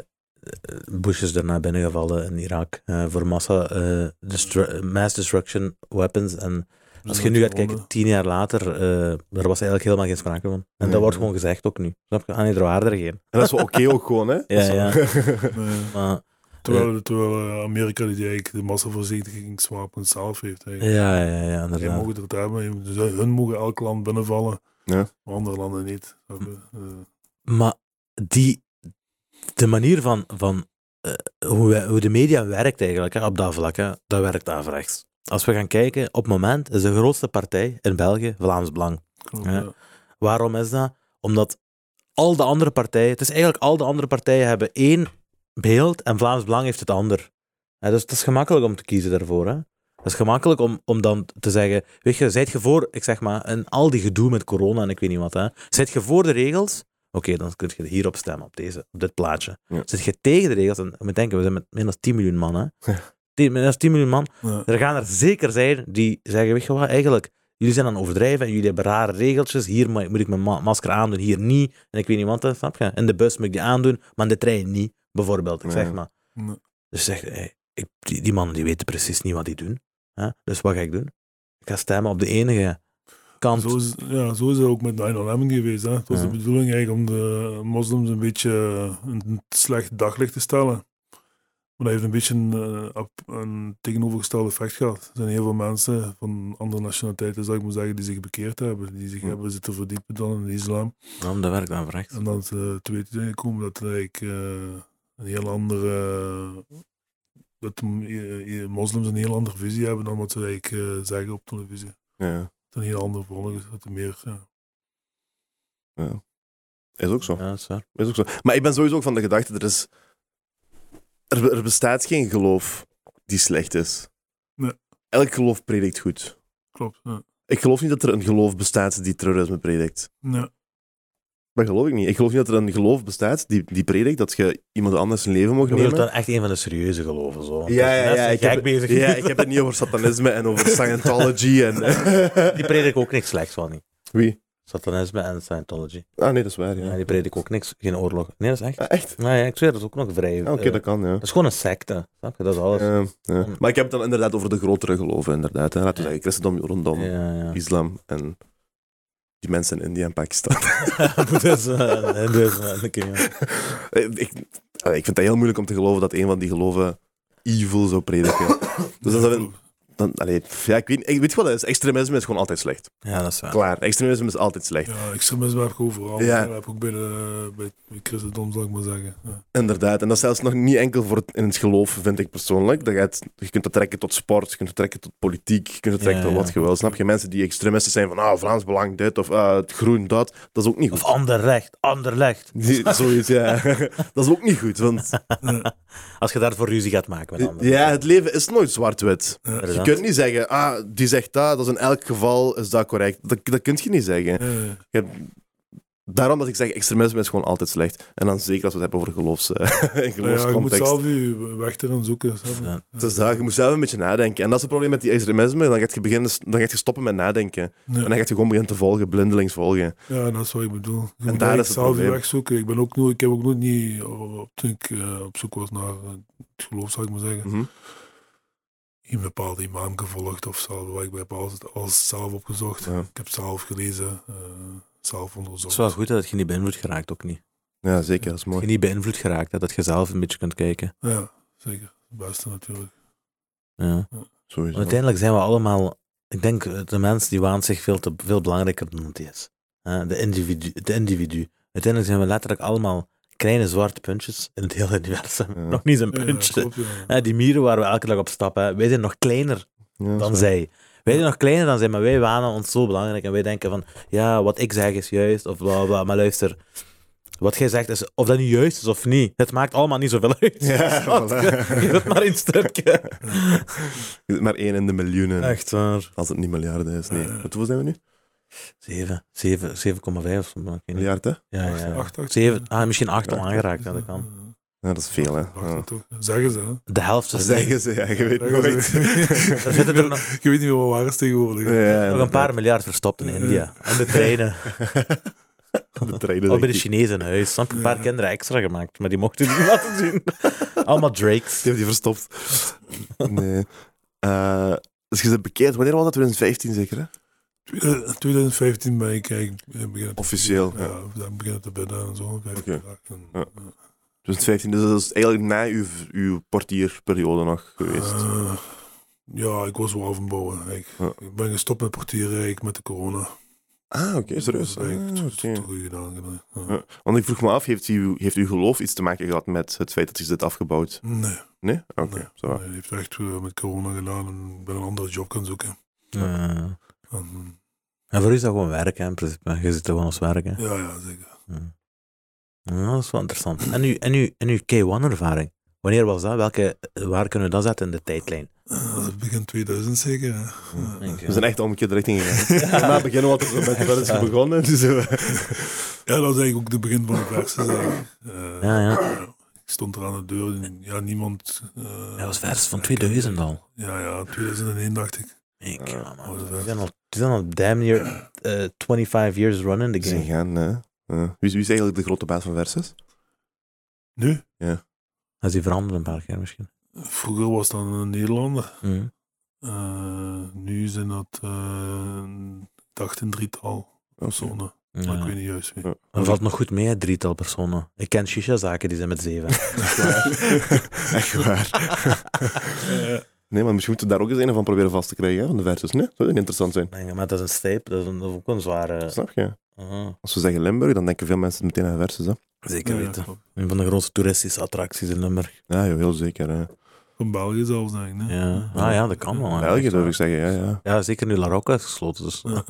B: Bush is daarna binnengevallen in Irak eh, voor massa, eh, destru- mass destruction weapons. En als je nu gaat kijken, tien jaar later, eh daar was eigenlijk helemaal geen sprake van. En
A: Nee.
B: dat wordt gewoon gezegd ook nu. Snap je? Ah nee, er waren er geen.
A: En dat is wel oké ook gewoon, hè?
B: Ja, ja.
A: Dat is wel-
C: Eh,
B: Maar,
C: terwijl terwijl eh, Amerika die eigenlijk de massavernietigingswapens zelf heeft. Eigenlijk.
B: ja, ja, ja,
C: Zij
B: inderdaad.
C: mogen het hebben. Dus hun mogen elk land binnenvallen.
A: Ja.
C: Maar andere landen niet. Eh, eh,
B: Maar die, de manier van, van eh, hoe, wij- hoe de media werkt eigenlijk, hè, op dat vlak, hè, dat werkt averechts. Als we gaan kijken, op het moment is de grootste partij in België Vlaams Belang.
C: klopt,
B: Ja.
C: ja.
B: Waarom is dat? Omdat al de andere partijen, het is eigenlijk al de andere partijen hebben één beeld en Vlaams Belang heeft het ander. Hè, dus het is gemakkelijk om te kiezen daarvoor. Hè? Het is gemakkelijk om, om dan te zeggen, weet je, zijt je voor, ik zeg maar, en al die gedoe met corona en ik weet niet wat, hè? zijt je voor de regels Oké, dan kun je hierop stemmen, op, deze, op dit plaatje.
A: Ja.
B: Zit je tegen de regels, en je moet denken, we zijn met minder dan 10 miljoen man, hè? 10, minder dan 10 miljoen man.
C: Ja.
B: Er gaan er zeker zijn die zeggen, weet je wat, eigenlijk, jullie zijn aan het overdrijven en jullie hebben rare regeltjes. Hier mo- moet ik mijn ma- masker aandoen, hier niet. En ik weet niet wat, hè, snap je? In de bus moet ik die aandoen, maar in de trein niet, bijvoorbeeld. Ik zeg
A: Ja.
B: maar.
C: Nee.
B: Dus zeg, hey, ik, die, die mannen die weten precies niet wat die doen. Hè? Dus wat ga ik doen? Ik ga stemmen op de enige kant.
C: Zo is, ja, zo is het ook met 9-11 geweest. Hè. Het was
B: Ja.
C: de bedoeling eigenlijk om de moslims een beetje eh, in een slecht daglicht te stellen. Maar dat heeft een beetje een, eh, op- een tegenovergestelde effect gehad. Er zijn heel veel mensen van andere nationaliteiten, zou ik maar zeggen, die zich bekeerd hebben. Die zich
A: Hm.
C: hebben zitten verdiepen dan in de islam.
B: Nou, dat werkt aan verrecht.
C: En dat ze te weten zijn gekomen dat er eigenlijk eh, een heel andere... Dat de, eh, eh, moslims een heel andere visie hebben dan wat ze eigenlijk eh, zeggen op televisie.
A: Ja,
C: Het is een heel andere volgers, dat er meer... ja.
A: ja. Is ook zo.
B: Ja, dat is waar.
A: Is ook zo. Maar ik ben sowieso ook van de gedachte, er is... Er, be- er bestaat geen geloof die slecht is.
C: Nee.
A: Elk geloof predikt goed.
C: Klopt, ja.
A: Ik geloof niet dat er een geloof bestaat die terrorisme predikt.
C: Ja,
A: Dat geloof ik niet. Ik geloof niet dat er een geloof bestaat die, die predikt dat je iemand anders zijn leven mag
B: Je bedoelt
A: nemen.
B: dan echt een van de serieuze geloven, zo. Want
A: Ja,
B: dat
A: ja,
B: is net
A: ja.
B: zo
A: Ik
B: gek
A: heb,
B: bezig.
A: ja, ik heb het niet over satanisme en over Scientology en...
B: Die predik ook niks slechts van, niet.
A: Wie?
B: Satanisme en Scientology.
A: Ah, nee, dat is waar, ja.
B: Ja, die predik ook niks. Geen oorlog. Nee, dat is echt.
A: Ah, echt?
B: Nou ja, ik zweer, dat is ook nog vrij.
A: Ah, Oké,
B: eh,
A: dat kan, ja.
B: dat is gewoon een secte. Snap je? Dat is alles. Ja,
A: Ja, ja. Maar ik heb het dan inderdaad over de grotere geloven, inderdaad. Hè. Laten we zeggen, christendom, jodendom,
B: ja.
A: islam en die mensen in India en Pakistan.
B: Moet eens, eh, nee, doe eens, eh, oké, ja.
A: ik, ik vind het heel moeilijk om te geloven dat een van die geloven evil zou prediken. Dus dat is een- dan, allee, pff, ja, ik weet, ik weet je wat het is. Extremisme is gewoon altijd slecht.
B: Ja, dat is waar.
A: Klaar, extremisme is altijd slecht.
C: ja extremisme heb ik overal.
A: Ja.
C: Dat heb ik ook bij, de, bij het christendom, zal ik maar zeggen. Ja.
A: Inderdaad, en dat is zelfs nog niet enkel voor het, in het geloof, vind ik persoonlijk. Dat je, het- je kunt dat trekken tot sport, je kunt dat trekken tot politiek, je kunt dat trekken
B: Ja,
A: tot
B: ja.
A: wat je wil. Snap je? Mensen die extremisten zijn van, ah, Vlaams Belang dit, of ah, het groen dat, dat is ook niet goed.
B: Of ander recht, ander recht.
A: Die- Zoiets, ja. Dat is ook niet goed, want
B: Als je daarvoor ruzie gaat maken met anderen.
A: ja, het leven is nooit zwart-wit. Je
B: Inderdaad.
A: kunt niet zeggen, ah, die zegt dat, dat is in elk geval is dat correct. Dat, dat kun je niet zeggen.
C: Eh,
A: Je hebt- daarom dat ik zeg, extremisme is gewoon altijd slecht. En dan zeker als we het hebben over geloofs, in
C: nou ja, je moet
A: geloofscontext.
C: zelf je weg erin zoeken. snap je?
B: Ja.
A: Het is dat, Dus je moet zelf een beetje nadenken. En dat is het probleem met die extremisme. Dan ga je, beginnen, dan ga je stoppen met nadenken.
C: Ja.
A: En dan ga je gewoon beginnen te volgen, blindelings volgen.
C: Ja, dat is wat ik bedoel. Je moet
A: daar
C: eigenlijk
A: is het
C: zelf je
A: probleem.
C: weg zoeken. Ik, ben ook nooit, ik heb ook nooit niet, eh, op, toen ik eh, op zoek was naar eh, het geloof, zal ik maar zeggen,
A: Mhm.
C: een bepaalde imam gevolgd of zelf. Waar ik bij heb alles, alles zelf opgezocht.
A: Ja.
C: Ik heb zelf gelezen, eh, zelf
B: Het
C: onderzocht.
B: is wel goed dat je niet beïnvloed geraakt, ook niet.
A: Ja, zeker, dat is
B: Dat je
A: mooi.
B: niet beïnvloed geraakt, hè, dat je zelf een beetje kunt kijken.
C: Ja, zeker. Het beste natuurlijk.
B: Ja.
A: Sowieso.
B: Want uiteindelijk zijn we allemaal. Ik denk, eh, de mens die waant zich veel, te, veel belangrijker dan het is. Hè, De individu, het individu. Uiteindelijk zijn we letterlijk allemaal kleine zwarte puntjes in het hele universum.
A: Ja.
B: Nog niet eens
C: Ja,
B: een puntje.
C: klopt, ja.
B: Hè, die mieren waar we elke dag op stappen, hè, wij zijn nog kleiner
A: Ja,
B: dan
A: zo.
B: zij. Wij zijn nog kleiner dan zij, maar wij wanen ons zo belangrijk. En wij denken van, ja, wat ik zeg is juist, of bla bla, bla. Maar luister, wat jij zegt, is, of dat nu juist is of niet, het maakt allemaal niet zoveel uit.
A: Ja,
B: Snap je?
A: voilà.
B: Geef het maar een stukje.
A: Je zit Maar één in de miljoenen.
B: Echt waar.
A: Als het niet miljarden is, nee.
C: Eh.
A: Hoeveel zijn we nu?
B: 7, 7, 7,5 of zo. maar ik weet niet.
A: Miljard, hè?
B: Ja,
C: Acht,
B: ja.
C: acht, acht.
B: Zeven- ah, misschien 8 al
A: Acht,
B: aangeraakt, ja, dat kan.
A: Ja, dat is veel, hè?
C: Wacht,
A: Ja.
C: toch. Zeggen ze, hè?
B: De helft
A: Dat
B: is
A: zeggen ze, ja, je weet
C: Zeggen
A: nooit.
C: ze.
B: Er zitten er nog,
C: Je weet niet meer wat waar is tegenwoordig.
A: Ja,
B: nog een paar miljard verstopt in India. En de treinen.
A: De treinen, denk
B: Ook bij de
A: ik.
B: Chinezen in huis. Snap je? Een paar kinderen extra gemaakt, maar die mochten het niet laten zien. Allemaal Drakes.
A: Die hebben die verstopt. Nee. Eh, dus je bent bekeerd. Wanneer was dat? 2015 zeker, hè?
C: Eh, 2015 ben ik eigenlijk eh, beginnen.
A: Officieel,
C: Ja, dan beginnen te bidden en zo. vijf
A: Oké.
C: dagen. En,
A: Ja. 2015, dus dat is eigenlijk na uw, uw portierperiode nog geweest.
C: eh, ja, ik was wel van bouwen. Ik,
A: Ja.
C: ik ben gestopt met portieren eigenlijk met de corona.
A: ah, oké, serieus.
C: Dat heb ik
A: Ah,
C: goed-
A: oké.
C: goed gedaan. gedaan. Ja.
A: Ja. Want ik vroeg me af, heeft uw, heeft uw geloof iets te maken gehad met het feit dat je dit afgebouwd?
C: Nee,
A: Nee? Oké,
C: Nee.
A: zo.
C: nee, dat heeft echt eh, met corona gedaan en ik ben een andere job gaan zoeken.
B: Eh,
C: En,
B: en voor u is dat gewoon werk, hè, in principe. Je zit er gewoon als werk, hè.
C: ja, ja, zeker.
B: Ja, dat is wel interessant. En uw, en uw, en uw K1-ervaring, wanneer was dat? Welke, waar kunnen we dat zetten in de tijdlijn?
C: Dat is Eh, begin 2000 zeker. hè. Ja.
A: We zijn echt om een keer de richting gegaan. Daarna beginnen we altijd zo met wel eens begonnen. Dus, eh,
C: Ja, dat was eigenlijk ook de begin van de verse. eigenlijk. Eh,
B: Ja, ja.
C: Ik stond er aan de deur en ja, niemand... eh,
B: Dat was vers van 2000 al.
C: Ja, ja, 2001 dacht ik.
B: Ik, ja, man.
C: oh, dat
B: Die
C: is-
B: zijn al, die zijn al damn near eh, 25 years running the
A: we zijn
B: game.
A: gaan, eh, eh, wie, is, wie is eigenlijk de grote baas van Versus?
C: Nu?
B: Als die veranderen een paar keer misschien.
C: Vroeger was dat een Nederlander.
B: Mhm.
C: Eh, nu zijn dat, eh, ik dacht een drietal
A: Oh,
C: personen.
B: Ja.
C: Maar ik weet niet juist wie.
B: Maar valt nog goed mee, hè, drietal personen. Ik ken shisha-zaken, die zijn met zeven.
A: Echt waar. Echt waar. Nee, maar misschien moeten we daar ook eens een van proberen vast te krijgen, hè, van de Versus. Nee, zou dat interessant zijn?
B: Nee, maar dat is een steep, dat is, een, dat is ook een zware...
A: Snap je?
B: Aha.
A: Als we zeggen Limburg, dan denken veel mensen meteen aan Versus. Hè?
B: Zeker
C: Ja,
B: weten.
C: klopt.
B: Een van de grootste toeristische attracties in Limburg.
A: Ja, joh, heel zeker. Hè.
C: Van België zelfs, denk ik. hè?
B: Ja. Ah ja, dat kan wel. hè.
A: België zou ik zeggen, ja, ja.
B: Ja, zeker nu La Rocca is gesloten. Dus.
A: Ja,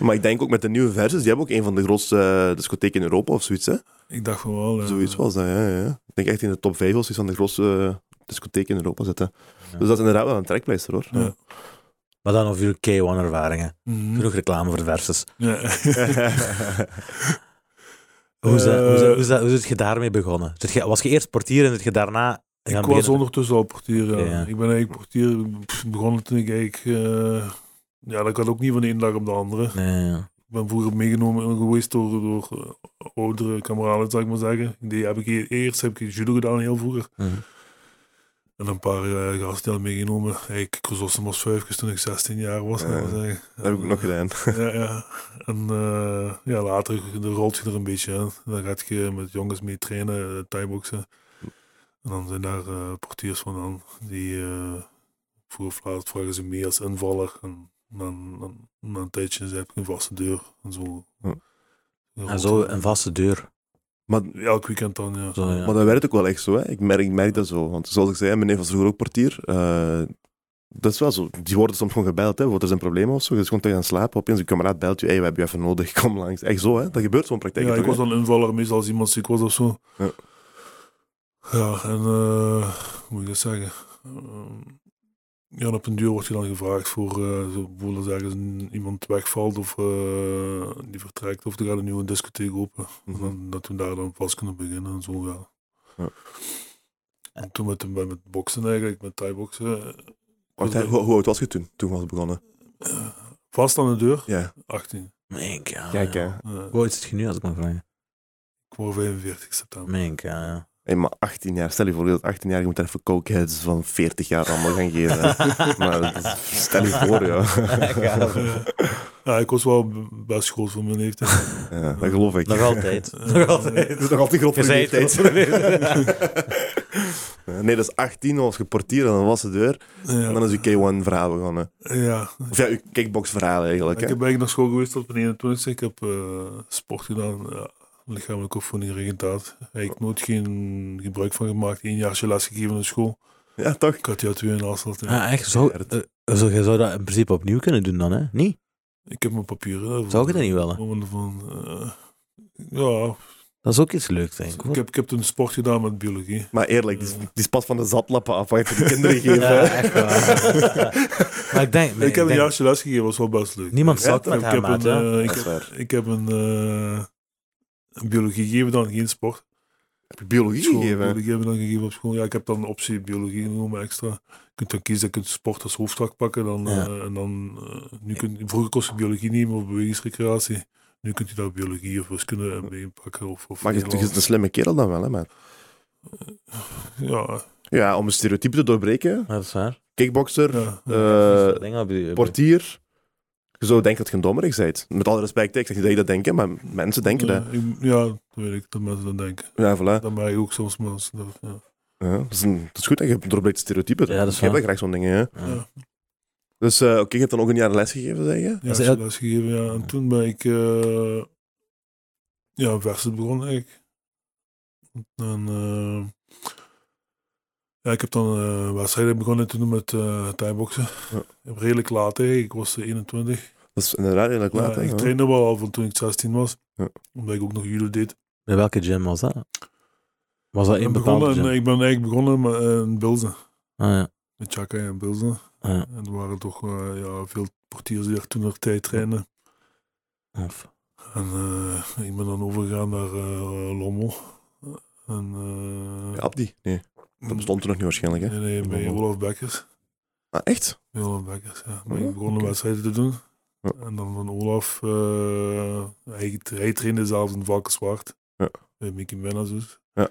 A: Maar ik denk ook met de nieuwe Versus, die hebben ook een van de grootste eh, discotheken in Europa of zoiets. Hè?
C: Ik dacht van wel. eh,
A: Zoiets was dat, ja, ja. Ik denk echt in de top 5 of zoiets van de grootste eh, discotheken in Europa zitten.
B: Ja.
A: Dus dat is inderdaad wel een trekpleister hoor.
C: Ja.
B: Maar dan over uw K1-ervaringen.
C: mhm.
B: Genoeg reclame voor versus.
C: Ja.
B: Hoe is, dat, hoe, is dat-
C: Eh,
B: hoe, is dat- hoe is het je daarmee begonnen? Zit je- was je eerst portier en zit je daarna...
C: ik was ondertussen al portier. Ja.
B: Ja.
C: Ik ben eigenlijk portier pff, begonnen toen ik eigenlijk. eh, ja, dat kan ook niet van de ene dag op de andere.
B: Nee, ja.
C: Ik ben vroeger meegenomen geweest door, door eh, oudere kameraden, zou ik maar zeggen. Die heb ik hier, eerst heb ik judo gedaan, heel vroeger.
B: Mhm.
C: En een paar eh, gasten die hadden meegenomen. Ik crossde maar vijfjes toen ik 16 jaar was.
A: Ja.
C: zou ik maar zeggen.
A: dat heb ik ook nog gedaan.
C: Ja, ja. En eh, ja, later dan rolt je er een beetje in. Dan gaat je met jongens mee trainen, eh, thaiboxen. En dan zijn daar eh, portiers van aan. Die eh, vroeg of laat vragen ze mee als invaller. En dan, dan, na een tijdje heb ik een vaste deur. En zo.
A: Hm.
B: En zo een vaste deur.
A: Maar,
C: Elk weekend dan, ja.
B: Zo, ja.
A: maar dat werkt ook wel echt zo, hè. Ik merk, ik merk dat zo. Want zoals ik zei, mijn neef was vroeger ook portier. Eh, dat is wel zo. Die worden soms gewoon gebeld, hè. Wordt er zijn problemen of zo. Je is gewoon te gaan slapen. Opeens een kameraad belt je. Hé, we hebben je even nodig. Kom langs. Echt zo, hè. Dat gebeurt zo'n praktijk.
C: Ja,
A: toch,
C: ik was
A: hè?
C: dan invaller meestal als iemand ziek was of zo.
A: Ja.
C: Ja, en eh, hoe moet ik dat zeggen? Ehm, ja, en op een duur word je dan gevraagd voor, eh, zo bijvoorbeeld als ergens een- iemand wegvalt of eh, die vertrekt of er gaat een nieuwe discotheek open. En
A: Mhm.
C: dan, dat we daar dan vast kunnen beginnen en zo, ja.
A: Ja.
C: En toen met, met, met boksen eigenlijk, met thai-boksen,
A: Wacht, hè, hoe, hoe oud was je toen? Toen was het begonnen.
C: eh, vast aan de deur,
A: Ja.
C: 18.
B: Mink, ja.
A: Kijk, hè.
B: ja.
C: Eh,
B: Hoe oud zit je nu, als ik mag vragen?
C: ik word 45 september.
B: Mink, ja, ja.
A: Hé, maar 18 jaar. Stel je voor dat 18 jaar je moet daar even cokeheads van 40 jaar allemaal gaan geven. hè. maar dat is- stel je voor, ja.
B: Gaaf.
C: Ja, ik was wel b- best groot voor mijn leeftijd.
A: ja. Dat geloof ik.
B: Nog altijd.
C: Eh,
B: Nog altijd.
A: Het is nog altijd groot
B: Je
A: voor
B: zei
A: die
B: het
A: tijd. Nee, dat is 18, dan was je portier en dan was de deur. En dan
C: Ja,
A: is je K1-verhaal begonnen.
C: ja.
A: Of ja, je kickbox-verhaal eigenlijk.
C: Ik
A: Hè?
C: heb eigenlijk naar school geweest tot mijn 21 Ik heb eh, sport gedaan, ja, lichamelijke opvoeding, regentaat. Eigenlijk nooit geen gebruik van gemaakt. Eén jaartje les gegeven op school.
A: Ja, toch?
C: Ik had die al twee en afstand. Ja.
B: Ja, echt. Zo,
A: Gert.
B: eh, zo, je zou dat in principe opnieuw kunnen doen dan, hè? Niet?
C: Ik heb mijn papieren. daarvoor.
B: Zou je dat niet willen?
C: Omwille Van, eh, ja,
B: Dat is ook iets leuks, denk ik.
C: ik
B: hoor.
C: heb, ik heb toen sport gedaan met biologie.
A: Maar eerlijk, die is, die is pas van de zatlappen af wat je de kinderen geeft.
B: Ja,
A: hè.
B: echt waar. maar ik denk... nee,
C: ik heb een
B: denk-
C: jaartje les gegeven, was wel best leuk.
B: Niemand zat
C: Ik
B: met haar
C: heb
B: maat,
C: een,
B: hè?
C: eh, ik,
A: Dat is waar.
C: ik heb een, eh, een biologie gegeven dan, geen sport.
A: Heb je biologie
C: School,
A: gegeven?
C: biologie hebben we dan gegeven op school. Ja, ik heb dan de optie biologie genomen extra. Je kunt dan kiezen, je kunt sport als hoofdvak pakken. Dan,
B: Ja.
C: eh, en dan, eh, nu kun, vroeger kon je biologie nemen of bewegingsrecreatie. Nu kunt je daar biologie of wiskunde eh, bij pakken. Of, of
A: Maar je je
C: Nederlands.
A: is een slimme kerel dan wel, hè, man.
C: Ja,
A: Ja, om een stereotype te doorbreken.
B: Ja, Dat is waar.
A: Kickboxer,
C: ja.
A: eh,
B: Dingen op je- op je-
A: portier. Je zou denken dat je een dommerig bent. Met alle respect, ik zeg niet dat je dat denkt, maar mensen denken dat.
C: Eh, ik- ja, dat weet ik, dat mensen dat denken.
A: Ja, voilà.
C: Dat merk ik ook soms mensen. dat- ja.
A: Ja, dat, is een- dat is goed dat je doorbreekt stereotypen.
B: Ja, dat is
A: je hebt
B: waar.
A: dat graag zo'n dingen, hè.
B: Ja.
A: Dus eh, oké, je hebt dan ook een jaar les gegeven, zeg je?
C: Ja,
B: Dat is
C: ik heb
B: heel-
C: les gegeven, ja. En toen ben ik... eh ja, versus begonnen eigenlijk. En, eh, ja, ik heb dan eh wedstrijden begonnen te doen met eh thai-boksen.
A: Ja.
C: Redelijk laat eigenlijk, ik was eh, 21.
A: Dat is inderdaad heel erg laat,
C: Ja,
A: hè,
C: ik
A: ja.
C: trainde wel al van toen ik 16 was.
A: Ja.
C: Omdat ik ook nog judo deed.
B: Met welke gym was dat? Was dat
C: Ik
B: één
C: ben,
A: Ah,
B: bepaalde
C: begonnen,
B: gym?
C: en ik ben eigenlijk begonnen met, eh, in Bilzen.
B: Ah, ja. Ah,
C: met Chaka en Bilzen.
B: Ja.
C: En er waren toch eh, ja, veel portiers die daar toen nog tijd trainen.
B: Of,
C: En eh, ik ben dan overgegaan naar eh, Lommel. En, eh,
A: Ja, Abdi? Nee, dat bestond er nog niet waarschijnlijk, hè?
C: Nee, nee, bij
A: Lommel.
C: Olaf Bekkers.
A: Ah, echt?
C: Bij Olaf Bekkers, ja. Ben
A: Ja,
C: ik begon
A: Oh, oké.
C: de wedstrijden te doen.
A: Ja.
C: En dan van Olaf, eh, hij, hij trainde zelfs in Valkenswaard.
A: Ja.
C: Bij Mickey Menna's dus.
A: Ja.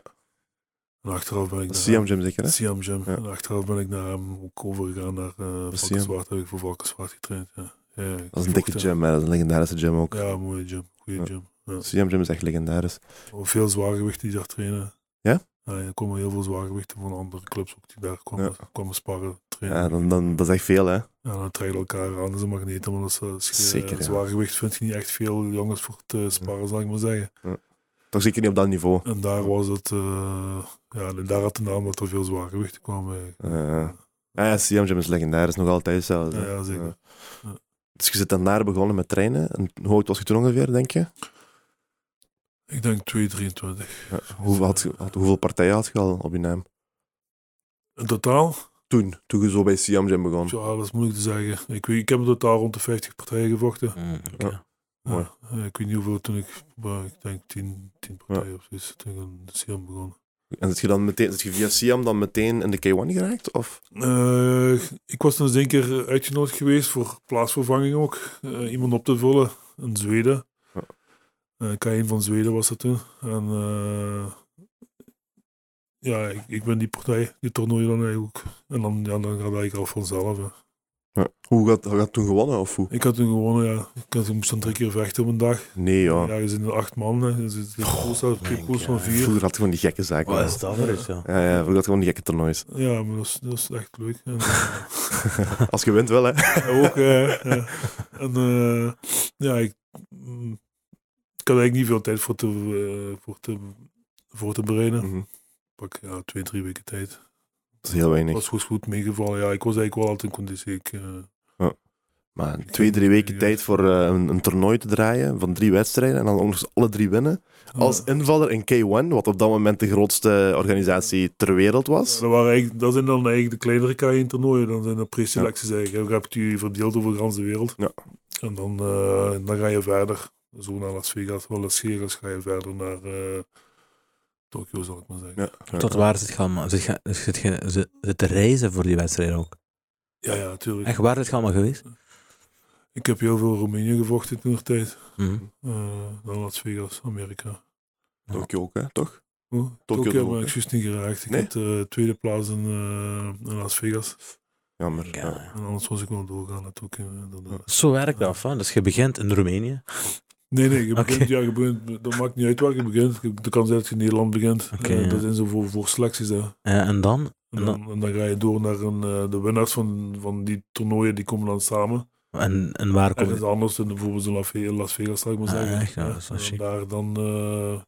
C: En achteraf ben ik
A: Dat
C: naar
A: is Siam Jim zeker, hè?
C: Siam Jam.
A: Ja.
C: En achteraf ben ik naar hem ook overgegaan naar eh
A: Siam.
C: Valkenswaard. Heb ik voor Valkenswaard getraind, ja. ja ik
A: Dat is een
C: vocht,
A: dikke
C: ja.
A: gym, hè. Dat is een legendarische gym ook.
C: Ja, mooie gym. Goede
A: Ja.
C: gym. Ja.
A: Siam Jim is echt legendarisch.
C: Oh, Veel zwaargewichten die daar trainen.
A: Ja?
C: Ja, er komen heel veel zwaargewichten van andere clubs ook die daar kwamen, kwamen sparren, trainen.
A: Ja, dan, dan, dat is echt veel, hè?
C: Ja, dan trekken elkaar aan, dat is een magneet. Maar dat is, eh, als je, eh,
A: Zeker, ja.
C: zwaargewicht vind je niet echt veel jongens voor te sparren, zal ik maar zeggen.
A: Toch zeker niet op dat niveau.
C: En daar was het... eh, ja, en daar had de naam dat er veel zwaargewichten kwamen. eigenlijk.
A: Eh, Ah ja, Siam Jim is legendarisch, nog altijd zelfs.
C: ja,
A: hè.
C: ja, zeker.
A: Ja. Dus je zit dan daar begonnen met trainen. En hoe oud was je toen ongeveer, denk je?
C: Ik denk 2,23.
A: Ja, hoeveel, had, je- had- hoeveel partijen had je al op je naam?
C: In totaal?
A: Toen, toen je zo bij Siam Jim begon.
C: Ja, dat is moeilijk te zeggen. Ik, weet- ik heb in totaal rond de 50 partijen gevochten.
B: mm, oké.
A: Ja.
C: Ja,
A: Mooi.
C: eh, ik weet niet hoeveel toen ik, maar ik denk 10, 10 partijen of zoiets. Toen ik aan de CM begon.
A: En zit je dan meteen, zit je via Siam dan meteen in de K1 geraakt? Of?
C: Eh, ik was toen eens één keer uitgenodigd geweest voor plaatsvervanging ook. eh, iemand op te vullen in Zweden.
A: Ja.
C: Eh, K1 van Zweden was dat toen. En eh, ja, ik, ik ben die partij, die toernooi dan eigenlijk ook. En dan, ja, dan gaat dat eigenlijk al vanzelf. hè.
A: Hoe had, had toen gewonnen? Of hoe?
C: Ik had toen gewonnen, ja. Ik, had, ik moest dan drie keer vechten op een dag.
A: Nee,
C: Ja,
A: ja.
C: ja je zit in acht man. hè. Dus het- de pools had- de
B: mijn
C: pools van
B: God.
C: vier.
A: Vroeger had ik gewoon die gekke zaken.
B: Wat is
A: Ja,
B: dat voor iets, ja?
A: ja, vroeger had ik gewoon die gekke toernoois.
C: Ja, maar dat is, dat is echt leuk. En, eh,
A: Als je wint wel, hè.
C: ook, eh, ja. En, eh, ja, ik, mm, ik had eigenlijk niet veel tijd voor te, eh, voor te, voor te bereiden.
A: Mhm.
C: Pak ja, twee, drie weken tijd.
A: Dat is heel
C: Het
A: weinig.
C: was goed, goed meegevallen. Ja, ik was eigenlijk wel altijd in conditie. Ik, eh,
A: Maar twee, drie weken tijd voor eh, een, een toernooi te draaien van drie wedstrijden en dan ook nog eens alle drie winnen. Als
C: ja.
A: invaller in K1, wat op dat moment de grootste organisatie ter wereld was.
C: dat, waren eigenlijk, dat zijn dan eigenlijk de kleinere K1-toernooien. Dan zijn de preselecties eigenlijk. Je hebt die verdeeld over de hele wereld.
A: Ja.
C: En dan, eh, dan ga je verder. Zo naar Las Vegas, wel Las Vegas ga je verder naar eh Tokio, zal ik maar zeggen.
A: Ja.
B: Tot waar zit gaan? Zit, je- zit, je- zit, zit te reizen voor die wedstrijd ook?
C: Ja, ja, natuurlijk.
B: Echt, waar is het allemaal geweest?
C: Ik heb heel veel Roemenië gevochten toen de tijd.
B: Mhm.
C: Eh, dan Las Vegas, Amerika.
A: Tokio ook, hè? Toch?
C: Oh, Tokio
A: toch ook,
C: ben ik
A: hè?
C: juist niet geraakt. Ik
A: Nee?
C: had de tweede plaats in, eh, in Las Vegas.
A: Jammer.
B: Ja.
A: Ja.
C: En anders was ik wel doorgaan naar Tokio. inderdaad.
B: Zo werkt dat, hè? Dus je begint in Roemenië.
C: Nee, nee, je
B: Oké.
C: begint, ja, je begint, dat maakt niet uit waar je begint. Je- De kans is dat je in Nederland begint.
B: Oké,
C: Eh,
B: ja.
C: Dat zijn zo voor, voor selecties. Hè.
B: Eh, en dan?
C: En, dan, en dan ga je door naar een, eh, de winnaars van, van die toernooien, die komen dan samen.
B: En, en waar komt
C: Ergens anders, dan bijvoorbeeld in Las Ve- Las Vegas, zal ik maar
B: Ah,
C: zeggen.
B: echt? Ja, dat is wel
C: en
B: chic.
C: daar dan eh,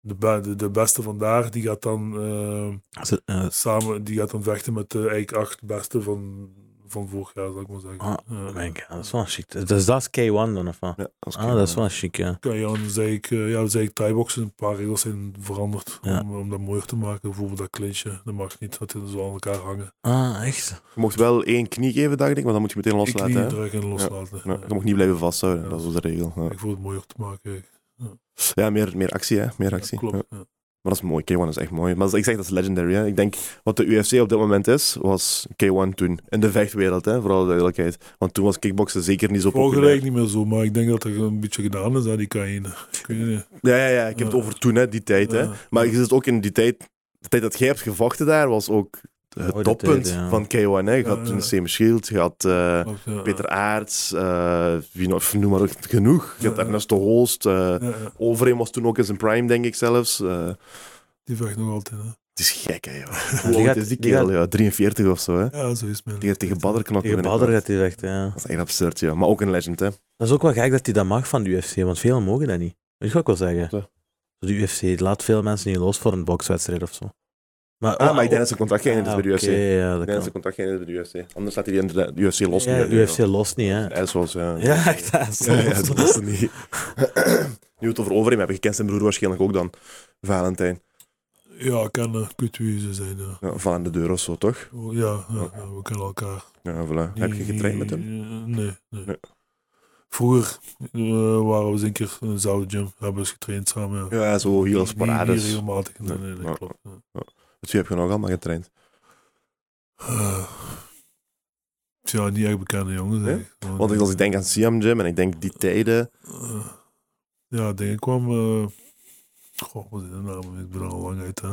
C: de, be- de, de beste van daar, die gaat dan eh,
B: Zit- eh,
C: samen, die gaat dan vechten met de eigenlijk acht beste van, van vorig jaar, zal ik maar zeggen. Eh,
B: Ah,
C: Ja.
B: mijn god, dat is wel chic. Dus dat is K1 dan, of wat?
A: Ja, als
B: Ah, dat is wel chic, ja.
C: Kan je dan zei ik, eh, ja, zei ik thai-boxen, een paar regels zijn veranderd
B: Ja.
C: om, om dat mooier te maken. Bijvoorbeeld dat clinchje, dat mag niet, dat is zo aan elkaar hangen.
B: Ah, echt?
A: Je mocht wel één knie geven, dacht ik, maar dan moet je meteen
C: Ik
A: loslaten.
C: knie
A: Hè?
C: drukken en loslaten.
A: Ja,
C: Ja.
A: je mocht niet blijven vasthouden,
C: Ja.
A: dat is de regel. Ja,
C: Ik voel het mooier te maken. Ja,
A: Ja, meer, meer actie, hè? Meer actie.
C: klopt.
A: Ja.
C: ja.
A: Maar dat is mooi, K1 is echt mooi. Maar ik zeg dat is legendary. Hè? Ik denk wat de UFC op dit moment is, was K1 toen. In de vechtwereld, hè? vooral de duidelijkheid. Want toen was kickboksen zeker niet zo
C: Volg
A: populair.
C: niet meer zo, maar ik denk dat er een beetje gedaan is aan die K1. Ik weet niet.
A: Ja, ja, ja, ik heb het
C: Ja.
A: over toen, hè, die tijd. Hè?
C: Ja.
A: Maar je zit ook in die tijd, de tijd dat jij hebt gevochten daar, was ook het
B: Oh, die
A: toppunt
B: tijd, ja.
A: van K1. Hè? Je had
C: Ja,
A: toen
C: ja.
A: Sam Shield, je had eh,
C: Klopt, ja.
A: Peter Aerts, eh, wie nog, noem maar ook genoeg. Je had
C: Ja.
A: Ernesto Holst, eh
C: Ja, ja.
A: Overeem was toen ook in zijn prime, denk ik zelfs. Eh,
C: Die vecht nog altijd. Hè.
A: het is gek, hè, joh.
B: die
A: Hoe oud
B: gaat-
A: is die
B: die gaat-
A: kerel? Ja, 43 of zo, hè?
C: Ja, zo is het. man.
A: Die gaat tegen Badr knokken.
B: Tegen
A: binnenkort.
B: Badr gaat hij weg, ja.
A: Dat is echt absurd, ja. Maar ook een legend, hè.
B: Dat is ook wel gek dat hij dat mag van de UFC, want velen mogen dat niet. Weet je wat ik wil
A: Wat,
B: zeggen? De UFC laat veel mensen niet los voor een bokswedstrijd of zo. Maar,
A: Ah, maar ik denk dat zijn contract geëindigd is bij de UFC.
B: oh. Oké,
A: Ik
B: ja,
A: denk
B: dat
A: dat zijn
B: kan.
A: contract geëindigd is bij de UFC. Anders laat hij die in de UFC los.
B: Ja,
A: nu, hè,
B: UFC
A: joh.
B: lost niet, hè.
A: Hij is zoals, ja.
B: Ja, echt, dat is
A: Ja, ja,
B: los.
A: dat is er niet. nu we het over Overeem hebben, je kent zijn broer waarschijnlijk ook dan, Valentijn.
C: Ja, kan uh, kutwezen zijn. Ja.
A: Ja, van aan de deur of zo, toch?
C: Oh, Ja, ja, ja, we kennen elkaar.
A: Ja, voilà. Heb je
C: Die-
A: getraind met hem?
C: eh, Nee, nee.
A: Nee.
C: Vroeger eh, waren we eens een keer in een zoutgym. Hebben we eens getraind samen. Ja.
A: Ja, zo hier als
C: Niet- niet-
A: parades.
C: Niet regelmatig. Nee, nee, dat
A: Ja.
C: klopt. Ja.
A: Dus wie heb je nog allemaal getraind?
C: Eh, Tja, niet echt bekende jongens.
A: Nee?
C: eigenlijk. Gewoon,
A: Want als ik denk aan Siam Jim en ik denk die tijden...
C: eh, ja, denk ik kwam... eh, Goh, wat is de naam? Ik ben er al lang uit, hè.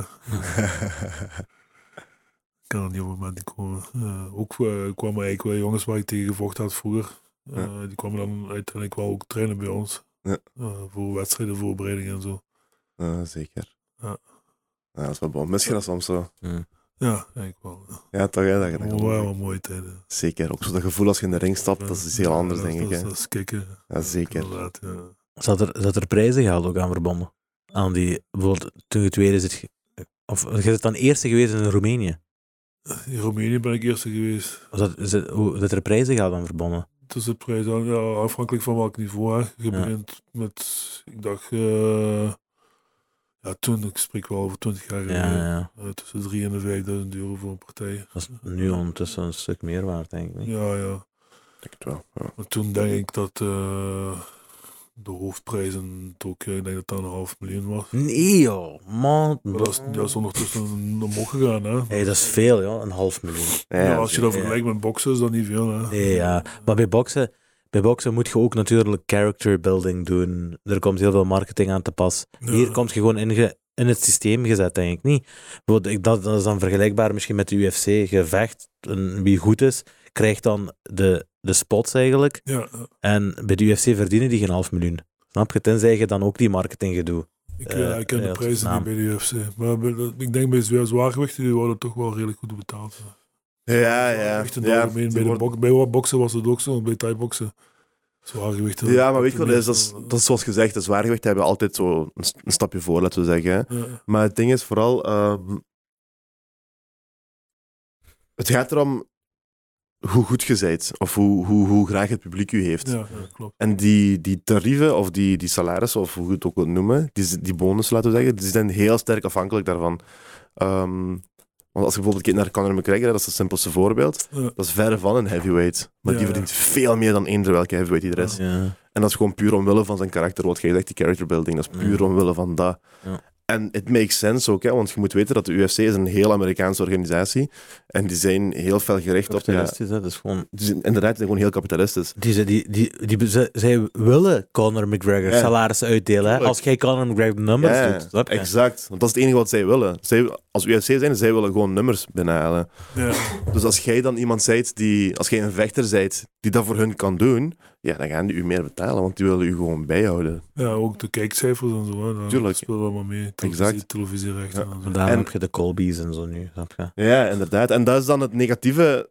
C: Ik kan op die moment komen. Eh, ook eh, kwamen eigenlijk wel jongens waar ik tegen gevochten had vroeger. Eh, Die kwamen dan uiteindelijk wel ook trainen bij ons.
A: Ja.
C: Eh, voor wedstrijden, voorbereidingen en zo.
A: Eh, zeker.
C: Ja.
A: Ja, dat is wel bon. Misschien dat soms zo.
C: Ja, eigenlijk wel. Ja,
A: Ja, toch? Hè, dat je
C: maar
A: dat
C: wel
A: gewoon-
C: wel mooie tijden.
A: Zeker. Ook zo dat gevoel als je in de ring stapt, dat is iets heel
C: Ja,
A: anders,
C: dat
A: denk ik.
C: is-
A: Hè.
C: Dat is kicken.
A: Ja, zeker.
C: Inderdaad, ja.
B: Zat er, zat er prijzen gehaald ook aan verbonden? Aan die, bijvoorbeeld, toen je tweede zit... ge- Of je bent dan eerste geweest in Roemenië.
C: In Roemenië ben ik eerste geweest.
B: Was dat, is het- hoe, dat er prijzen gehaald aan verbonden?
C: Dus de prijs dan, ja, afhankelijk van welk niveau. Hè. Je
B: Ja.
C: begint met, ik dacht, eh, ja, toen, ik spreek wel over 20 jaar
A: Mhm.
B: Ja,
C: geleden.
B: ja, ja.
C: Eh, tussen 3 en de 5000 euro voor een partij.
B: Dat is nu ondertussen een stuk meer waard, denk ik. Niet?
C: Ja, ja.
A: Ik denk het wel. Ja.
C: Maar toen denk ik dat eh, de hoofdprijzen het ook, eh, ik denk dat dat een half miljoen
B: Hm.
C: was.
B: Nee, joh. Man.
C: Maar dat is, dat is ondertussen omhoog gegaan, hè?
B: Hey, dat is veel, joh. Een half miljoen.
A: Ja,
C: Ja, als je dat
B: zeker, ja.
C: vergelijkt met boksen is dat niet veel, hè?
B: Nee, ja. Maar bij boksen, bij boksen moet je ook natuurlijk character building doen. Er komt heel veel marketing aan te pas.
C: Ja.
B: Hier komt je gewoon in, ge- in het systeem gezet, denk ik niet. Bijvoorbeeld, ik- Dat, dat is dan vergelijkbaar misschien met de UFC. Je vecht, en wie goed is, krijgt dan de, de spots eigenlijk.
C: Ja, eh,
B: En bij de UFC verdienen die geen half miljoen. Snap je? Tenzij je dan ook die marketing gedoe.
C: ik,
B: Eh,
C: eh, ik ken
B: ja,
C: de
B: dat is
C: prijzen
B: naam.
C: niet bij de UFC. Maar bij de- ik denk bij zwaar zwaargewichten, die worden toch wel redelijk goed betaald.
A: Ja, ja.
C: Zwaargewichten
A: Ja,
C: algemeen,
A: die
C: bij, de
A: worden-
C: bok, bij wat boksen was het ook zo, bij thai-boksen. Zwaargewichten.
A: Ja, maar weet je wat,
C: de
A: het is, dat is, dat is zoals gezegd, de zwaargewichten hebben altijd zo een, st- een stapje voor, laten we zeggen. hè.
C: Ja,
A: Maar het ding is vooral, ehm, het gaat erom hoe goed je bent, of hoe, hoe, hoe graag het publiek u heeft.
C: ja, ja, klopt.
A: En die, die tarieven, of die, die salarissen, of hoe je het ook wilt noemen, die, z- die bonus, laten we zeggen, die zijn heel sterk afhankelijk daarvan. Ehm, want als je bijvoorbeeld kijkt naar Conor McGregor, hè, dat is het simpelste voorbeeld,
C: Ja.
A: dat is verre van een heavyweight. Maar
C: Ja,
A: die
C: ja.
A: verdient veel meer dan eender welke heavyweight die er is.
B: Ja.
A: En dat is gewoon puur omwille van zijn karakter. Wat jij zegt, die character building, dat is puur
B: Ja.
A: omwille van dat.
B: Ja.
A: En het makes sense ook, hè, want je moet weten dat de UFC is een heel Amerikaanse organisatie. En die zijn heel fel gericht op... Ja,
B: Kapitalistisch, hè. dat is gewoon
A: die zijn, inderdaad, die zijn gewoon heel kapitalistisch.
B: Die, ze- die, die, die, ze- zij willen Conor McGregor
A: Ja.
B: salarissen uitdelen. Hè?
A: Tuurlijk.
B: Als jij Conor McGregor de nummers
A: Ja,
B: doet. Snap je?
A: exact. Want dat is het enige wat zij willen. Zij, als UFC zijn, zij willen gewoon nummers binnenhalen.
C: Ja,
A: Dus als jij dan iemand zijt die... Als jij een vechter bent die dat voor hun kan doen, ja, dan gaan die u meer betalen, want die willen u gewoon bijhouden.
C: ja, ook de kijkcijfers en zo. Hè, dat
A: Tuurlijk.
C: speelt allemaal mee. Televisie,
A: Exact.
C: Televisierechten en zo.
B: En Daarom
A: En-
B: heb je de Colby's en zo nu. Snap je?
A: Ja, inderdaad. En dat is dan het negatieve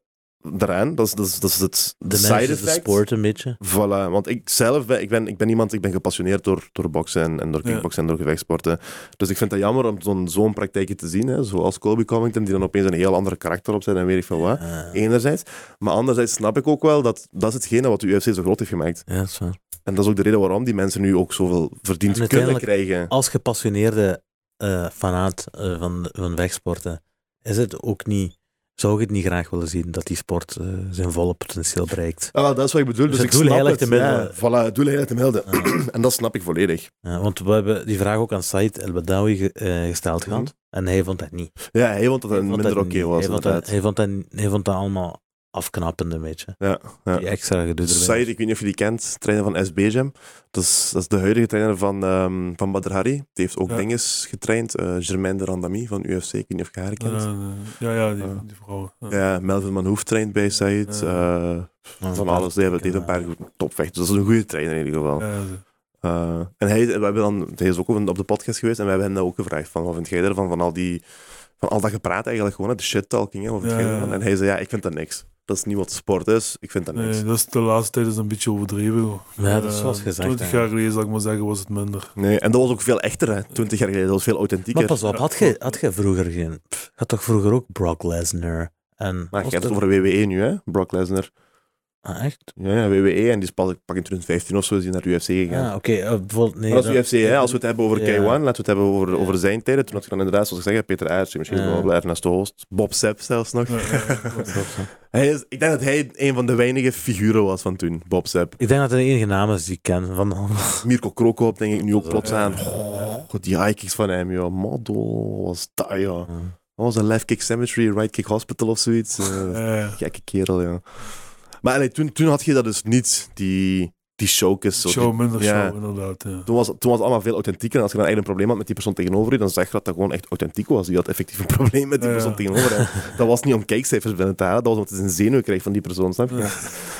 A: daaraan. Dat is, dat is, dat is het
B: De
A: side
B: side is de
A: effect.
B: sport een beetje.
A: Voilà, want ik zelf ben, ik ben, ik ben iemand, ik ben gepassioneerd door, door boksen en, en door
C: Ja.
A: kickboksen en door gevechtsporten. Dus ik vind het jammer om zo'n zo'n praktijkje te zien, hè, zoals Colby Covington, die dan opeens een heel ander karakter op zijn en weet ik veel wat.
B: Eh,
A: Enerzijds. Maar anderzijds snap ik ook wel dat dat is hetgene wat de UFC zo groot heeft gemaakt.
B: ja, dat is waar.
A: En dat is ook de reden waarom die mensen nu ook zoveel verdiend
B: En
A: kunnen
B: uiteindelijk- Ah,
A: krijgen.
B: Als gepassioneerde eh fanaat eh, van, van wegsporten, is het ook niet. Zou je het niet graag willen zien dat die sport eh, zijn volle potentieel bereikt?
A: Ah, wel, dat is wat ik bedoel. Dus,
B: het
A: ik
B: doel
A: snap
B: heiligt
A: het.
B: de middelen.
A: Ja, voilà, het doel heiligt de middelen.
B: Ah.
A: En dat snap ik volledig.
B: Ja, want we hebben die vraag ook aan Said El Badawi ge- eh, gesteld
A: Mhm.
B: gehad. En hij vond dat niet.
A: Ja, hij vond dat
B: Hij
A: het
B: vond
A: minder oké
B: dat niet.
A: was,
B: Hij vond, dat,
A: inderdaad.
B: hij, vond dat, hij vond dat allemaal afknappend een beetje.
A: Ja, ja.
B: Die extra gedoe erbij.
A: Said, ik weet niet of je die kent, trainer van SB Jam. Dat is, dat is de huidige trainer van, ehm van Badr Hari. Die heeft ook
C: Ja.
A: dinges getraind. eh Germain de Randami van UFC, ik weet niet of je haar kent.
B: Eh,
C: Ja, ja, ja, die,
A: Ja.
C: die vrouwen. Ja.
A: Ja, Melvin Manhoef traint bij Said.
C: Ja.
A: eh,
B: Ja,
A: van alles. Die hebben die heeft een paar goede topvechters. Dat is een goede trainer in ieder geval.
C: Ja, ze-
A: Eh, en hij, we hebben dan, hij is ook op op de podcast geweest en we hebben hem dat ook gevraagd. Van, wat vind jij ervan? Van al, die, van al dat gepraat eigenlijk gewoon, hè, de shit-talking. hè, Wat vind
C: Ja,
A: jij
C: ja, ja.
A: ervan? En hij zei, ja, ik vind dat niks. Dat is niet wat sport is. Ik vind dat niks.
C: nee, dat is de laatste tijd is een beetje overdreven. hoor.
B: Ja, dat is
C: Eh,
B: zoals gezegd.
C: 20
B: hè.
C: jaar geleden, zal ik maar zeggen, was het minder.
A: Nee, en dat was ook veel echter, hè. 20 jaar geleden. Dat was veel authentieker.
B: Maar pas op, had je, had je vroeger geen... pff, je had toch vroeger ook Brock Lesnar
A: Maar
B: en...
A: je
B: was
A: hebt het
B: dat-
A: over WWE nu, hè? Brock Lesnar.
B: Ah, echt?
A: Ja, ja, WWE. En die is pas pak in 2015 of zo is die naar de UFC gegaan.
B: Ja, oké. eh, bijvoorbeeld, nee,
A: maar dat
B: dan-
A: is UFC, hè. Als we het hebben over
B: Ja.
A: K1, laten we het hebben over, over zijn tijden. Toen had je dan inderdaad, zoals ik zeg, Peter Aerts, misschien
B: Ja.
A: wel wel Ernest de Host, Bob Sepp zelfs nog.
C: Ja, ja, ja, klopt.
A: hij is, ik denk dat hij een van de weinige figuren was van toen, Bob Sepp.
B: Ik denk dat het de enige naam is die ik ken van allemaal.
A: Mirko Krokop denk ik nu ook plots
C: Ja.
A: aan. Goh, die high kicks van hem, joh. Model was dat, joh. Dat was een left kick cemetery, right kick hospital of zoiets. Eh,
C: Eh,
A: gekke kerel, ja. Maar allee, toen, toen had je dat dus niet, die, die showcase. zo, die-
C: show minder
A: ja.
C: show, inderdaad. Ja.
A: Toen was, toen was het allemaal veel authentieker. En als je dan echt een probleem had met die persoon tegenover je, dan zag je dat dat gewoon echt authentiek was. Die had effectief een probleem met die
C: Ja.
A: persoon tegenover hem. Dat was niet om kijkcijfers binnen te halen, dat was omdat het een zenuw kreeg van die persoon, snap je?
C: Ja.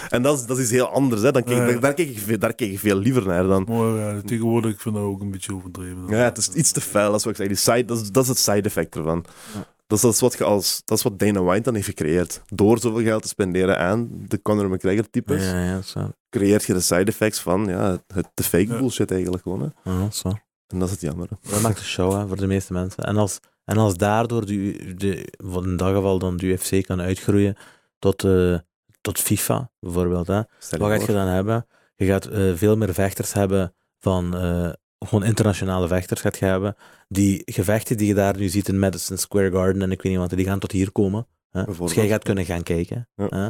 A: En dat is, dat is iets heel anders, hè. Dan keek,
C: Ja.
A: daar, daar keek ik veel, daar keek ik veel liever naar dan...
C: Maar ja, tegenwoordig vind ik dat ook een beetje overdreven.
A: Ja, het is iets te fel, dat is wat ik zeg. Die side, dat, is, dat is het side effect ervan.
B: Ja.
A: Dat, is, dat, is wat je als, dat is wat Dana White dan heeft gecreëerd. Door zoveel geld te spenderen aan de Conor McGregor-types,
B: Ja, ja, dat is waar.
A: creëert je de side effects van ja, het, de fake
C: Ja.
A: bullshit eigenlijk gewoon. Hè.
B: Ja, dat is waar.
A: En dat is het jammer. hè.
B: Dat maakt de show hè, voor de meeste mensen. En als, en als daardoor de, de, wat in dat geval dan de UFC kan uitgroeien tot, eh, tot FIFA bijvoorbeeld. Hè.
A: Stel je
B: Wat gaat
A: voor.
B: je dan hebben? Je gaat eh, veel meer vechters hebben van eh, gewoon internationale vechters gaat je hebben. Die gevechten die je daar nu ziet in Madison Square Garden en ik weet niet wat, die gaan tot hier komen. Hè? Dus
A: Bijvoorbeeld.
B: jij gaat kunnen gaan kijken.
A: Ja.
B: Hè?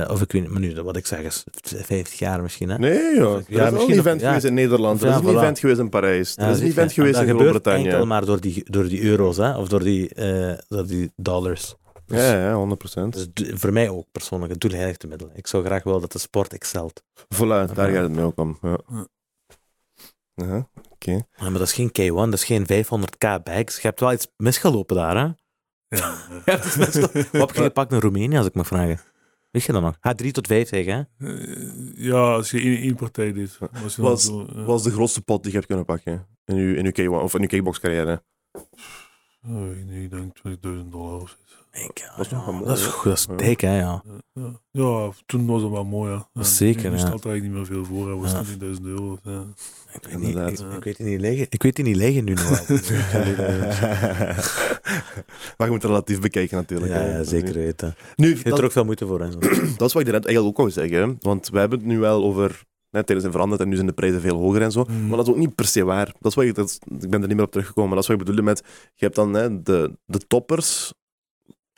B: Eh, of ik weet niet, maar nu, wat ik zeg is 50 jaar misschien. Hè?
A: Nee, joh. Er is
B: Ja,
A: al een
B: misschien
A: event
B: nog- ja.
A: geweest in Nederland. Er
B: Ja,
A: is een
B: voilà.
A: event geweest in Parijs. Er
B: Ja,
A: is een
B: zie je.
A: event geweest
B: En
A: in
B: dat gebeurt enkel
A: Groot-Brittannië.
B: maar door die, door die euro's, hè? of door die, eh, door die dollars. Dus,
A: Ja, ja, 100 procent.
B: dus d- voor mij ook persoonlijk het doelheiligste middel. Ik zou graag wel dat de sport excelt.
A: Voilà, daar gaat het mee ook om. Ja.
C: Ja.
A: Ja.
B: Ja, maar dat is geen K1, dat is geen 500k bikes. Je hebt wel iets misgelopen daar, hè?
C: Ja, ja.
B: Ja, dat is best wel- Wat heb je gepakt in Roemenië, als ik mag vragen? Weet je dat nog? H3 tot 5 zeg, hè?
C: Eh, ja, als je één, één partij deed. Was, je dan
A: Was-
C: zo, eh,
A: Wat was de grootste pot die je hebt kunnen pakken in je, in je, K1 of in je kickbox-carrière?
C: oh, ik denk- ik denk 20.000 dollar of zoiets. Eh,
B: Ik, ja,
A: Dat is nog
B: ja,
A: wel mooi,
B: dat is
A: hè?
B: goed, dat is
A: Ja.
B: dik, hè, ja.
C: Ja, ja, toen was het wel mooi. Ja. Ja,
B: Zeker,
C: Nu
B: ja.
C: stelt er eigenlijk niet meer veel voor. hè. was
B: Ja.
C: 20.000 euro. Ja.
B: Ik weet, niet,
A: Inderdaad.
B: ik, ik weet die niet liggen. Ik weet die niet liggen nu nog wel.
A: maar je moet het relatief bekijken natuurlijk.
B: ja,
A: hè.
B: ja, zeker weten.
A: Nu,
B: Je hebt
A: dat,
B: er ook veel moeite voor, hè. zo.
A: dat is wat ik net eigenlijk ook wou zeggen. hè. Want we hebben het nu wel over... Net tijden zijn veranderd en nu zijn de prijzen veel hoger en zo. Mm.
C: Mm.
A: Maar dat is ook niet per se waar. Dat is wat ik, dat is- ik ben er niet meer op teruggekomen. Maar dat is wat ik bedoelde met... Je hebt dan hè, de, de toppers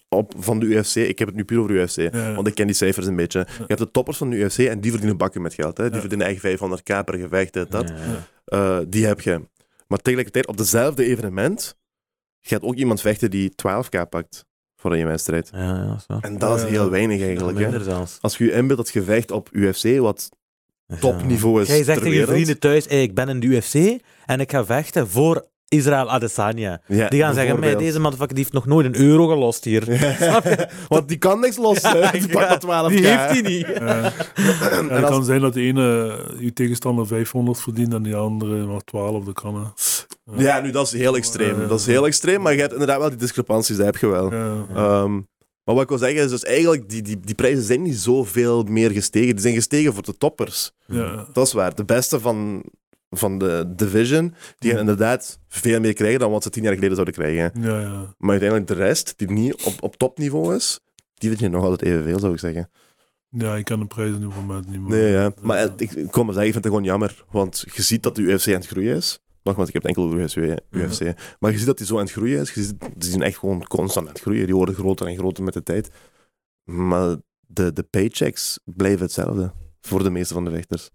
A: op, van de UFC. Ik heb het nu puur over de UFC.
C: Ja.
A: Want ik ken die cijfers een beetje. Je hebt de toppers van de UFC en die verdienen bakken met geld. Hè. Die
C: Ja.
A: verdienen echt 500k per gevecht. dit, dat.
B: Ja, ja.
A: Eh, die heb je. Maar tegelijkertijd, op dezelfde evenement gaat ook iemand vechten die 12k pakt voor een wedstrijd.
B: Ja, ja, dat is waar.
A: En dat is
C: Ja,
A: heel
C: ja.
A: weinig eigenlijk. Hè.
B: Minder zelfs.
A: Als je je inbeeldt dat gevecht op UFC, wat
B: Ja.
A: topniveau is
B: Jij zegt
A: ter
B: tegen je
A: wereld.
B: vrienden thuis, hey, ik ben in de UFC en ik ga vechten voor Israël Adesanya.
A: Ja,
B: Die gaan zeggen, "Mei,
A: bijvoorbeeld.
B: deze motherfucker die heeft nog nooit een euro gelost hier. Snap je?
A: Want die kan niks los. hè. die pakt maar 12k.
B: Die heeft hij niet.
C: Ja.
A: En
C: Ja, Eh, het
A: als-
C: kan zijn dat de ene eh, je tegenstander 500 verdient en die andere maar 12, dat kan. hè.
A: Ja, nu, dat is heel extreem.
C: Ja.
A: Dat is heel extreem, maar je hebt inderdaad wel die discrepanties, dat heb je wel.
C: Ja.
A: Ehm, maar wat ik wil zeggen is, dus eigenlijk, die, die, die prijzen zijn niet zoveel meer gestegen. Die zijn gestegen voor de toppers.
C: Ja.
A: Dat is waar. De beste van, van de division, die gaan inderdaad veel meer krijgen dan wat ze tien jaar geleden zouden krijgen.
C: Ja, ja.
A: Maar uiteindelijk de rest, die niet op, op topniveau is, die vind je nog altijd evenveel, zou ik zeggen.
C: ja, ik kan de prijzen nu op het moment niet meer.
A: Nee, ja. Maar eh, ik, ik kom maar zeggen, ik vind het gewoon jammer. Want je ziet dat de UFC aan het groeien is. Nogmaals, ik heb het enkel over UFC. UFC. Maar je ziet dat die zo aan het groeien is. Je ziet, die zijn echt gewoon constant aan het groeien. Die worden groter en groter met de tijd. Maar de, de paychecks blijven hetzelfde voor de meeste van de vechters.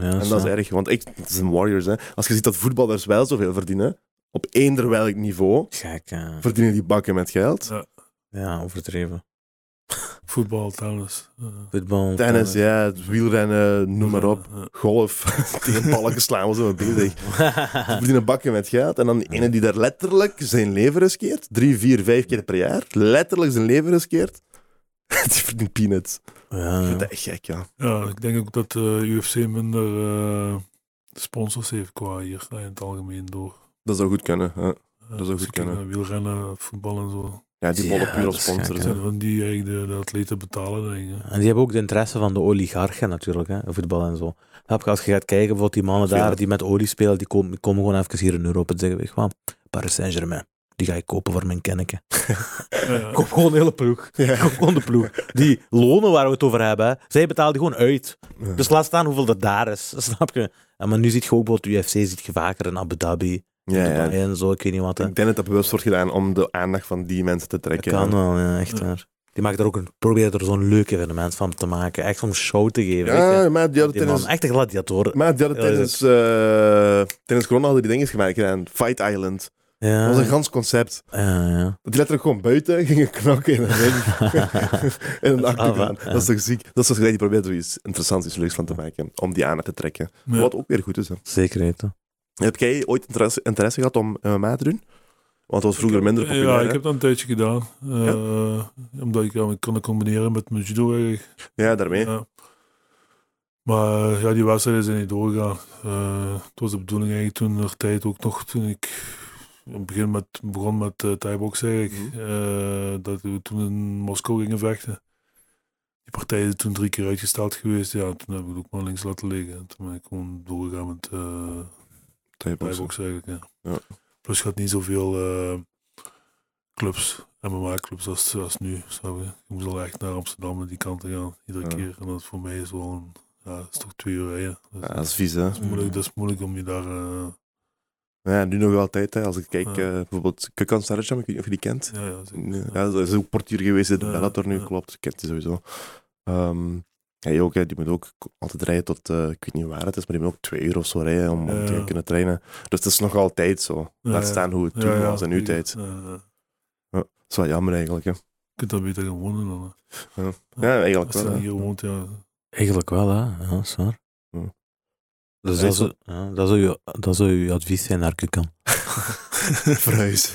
A: En dat is erg, want ik, het zijn Warriors. Hè. Als je ziet dat voetballers wel zoveel verdienen, op eender welk niveau,
B: Gek, ja.
A: verdienen die bakken met geld.
B: Ja, overdreven.
C: Voetbal, tennis. eh.
B: Voetbal. eh,
A: Tennis, ja, het wielrennen, noem maar op.
C: Ja.
A: Golf, tegen balken slaan, we zijn we bezig. Ze verdienen bakken met geld. En dan die ene die daar letterlijk zijn leven riskeert, drie, vier, vijf keer per jaar, letterlijk zijn leven riskeert, die verdient peanuts.
B: ja,
A: Ik
B: ja.
A: vind dat echt gek, ja.
C: Ja, ik denk ook dat de UFC minder eh, sponsors heeft qua hier eh, in het algemeen door.
A: Dat zou goed kunnen. hè.
C: Eh,
A: Dat zou
C: als
A: goed
C: je kijkt
A: kunnen.
C: naar Wielrennen, voetbal en zo.
A: Ja, die
B: Ja,
A: bollen puur
B: dat
A: op
B: is
A: sponsors.
B: gek,
A: hè.
B: hè.
C: En van die eigenlijk de, de atleten betalen dingen.
B: En die hebben ook de interesse van de oligarchen natuurlijk, hè? voetbal en zo. Snap je, als je gaat kijken, bijvoorbeeld die mannen
A: Veel.
B: daar die met olie spelen, die komen, die komen gewoon even hier in Europa en zeggen, weet je wat, Paris Saint-Germain, Die ga ik kopen voor mijn kenneke.
C: Ja.
B: Koop gewoon een hele ploeg. Koop gewoon de ploeg. Die lonen waar we het over hebben, hè, zij betalen die gewoon uit. Dus laat staan hoeveel dat daar is. Snap je? En maar nu ziet je ook bijvoorbeeld UFC ziet je vaker in Abu Dhabi.
A: ja, ja.
B: Dubai en zo, ik weet niet wat. hè.
A: Ik denk dat dat bewust wordt gedaan om de aandacht van die mensen te
B: Dat
A: trekken.
B: kan wel, ja, echt
C: Ja.
B: waar. Die maakt er ook een, probeert er zo'n leuk evenement van te maken. Echt om show te geven. weet je.
A: Ja, maar die hadden
B: Die man,
A: tijdens,
B: echt een gladiator.
A: maar die hadden
B: Ja,
A: tijdens, eh, tijdens corona hadden die dingen gemaakt gedaan. Fight Island.
B: Ja,
A: Dat was een gans concept.
B: ja, ja.
A: Dat die letterlijk gewoon buiten gingen knokken in een ring. in een
B: Dat is af, hè?
A: achtergrond. Dat is toch ziek? Dat is toch gelijk, die probeert er iets interessants, iets leuks van te maken. Om die aandacht te trekken.
C: Ja.
A: Wat ook weer goed is. Hè.
B: Zeker weten.
A: Heb jij ooit interesse, interesse gehad om MMA te doen? Want dat was vroeger minder populair.
C: Ja,
A: hè?
C: ik heb dat een tijdje gedaan. Eh, Omdat ik ja, ik kon het combineren met mijn judo eigenlijk.
A: ja daarmee.
C: Ja. Maar eh, ja, die wedstrijden zijn niet doorgegaan. Eh, het was de bedoeling eigenlijk toen er tijd ook nog, toen ik in het begin met, begon met uh, Thaibox eigenlijk, eh, dat we toen in Moskou gingen vechten. Die partij is toen drie keer uitgesteld geweest. Ja, toen heb ik het ook maar links laten liggen. En Toen ben ik gewoon doorgegaan met eh,
A: Thaiboxen.
C: Thaibox eigenlijk, ja.
A: Ja.
C: Plus je had niet zoveel eh, clubs, MMA-clubs als, als nu, snap je? Je moest al echt naar Amsterdam en die kanten gaan, iedere
A: Ja.
C: keer. En dat voor mij is wel een, ja, dat is toch twee uur rijden. Dus
A: Ja, dat
C: dat,
A: is vies, hè?
C: is moeilijk, dat is moeilijk om je daar... eh,
A: Ja, nu nog wel tijd, hè. Als ik kijk,
C: Ja.
A: eh, bijvoorbeeld Kukan Sarajam, ik weet niet of je die kent.
C: ja, ja, zeker.
A: Nee, Ja, dat is ook portier geweest in
C: Ja,
A: Bellator nu,
C: ja.
A: klopt. Ik kent die sowieso. Ehm hij ook, hè, die moet ook altijd rijden tot, eh, ik weet niet waar het is, maar die moet ook twee uur of zo rijden om, om te
C: Ja.
A: kunnen trainen. Dus het is nog altijd zo.
C: Ja,
A: Laat
C: ja.
A: staan hoe het toen
C: Ja, ja,
A: was en nu
C: zeker.
A: tijd. Dat
C: Ja, ja.
A: is wel jammer eigenlijk. Hè.
C: Je kunt dat beter gaan wonen dan. hè.
A: Ja, eigenlijk
C: Als je
A: wel.
C: dan
A: hè.
C: hier woont, ja.
B: Eigenlijk wel, hè. Ja, dat is waar.
A: Ja.
B: Dus
A: Ja,
B: dat,
A: zo-
B: zou, ja, dat, zou je, dat zou je advies zijn naar Kukan.
A: Verhuis.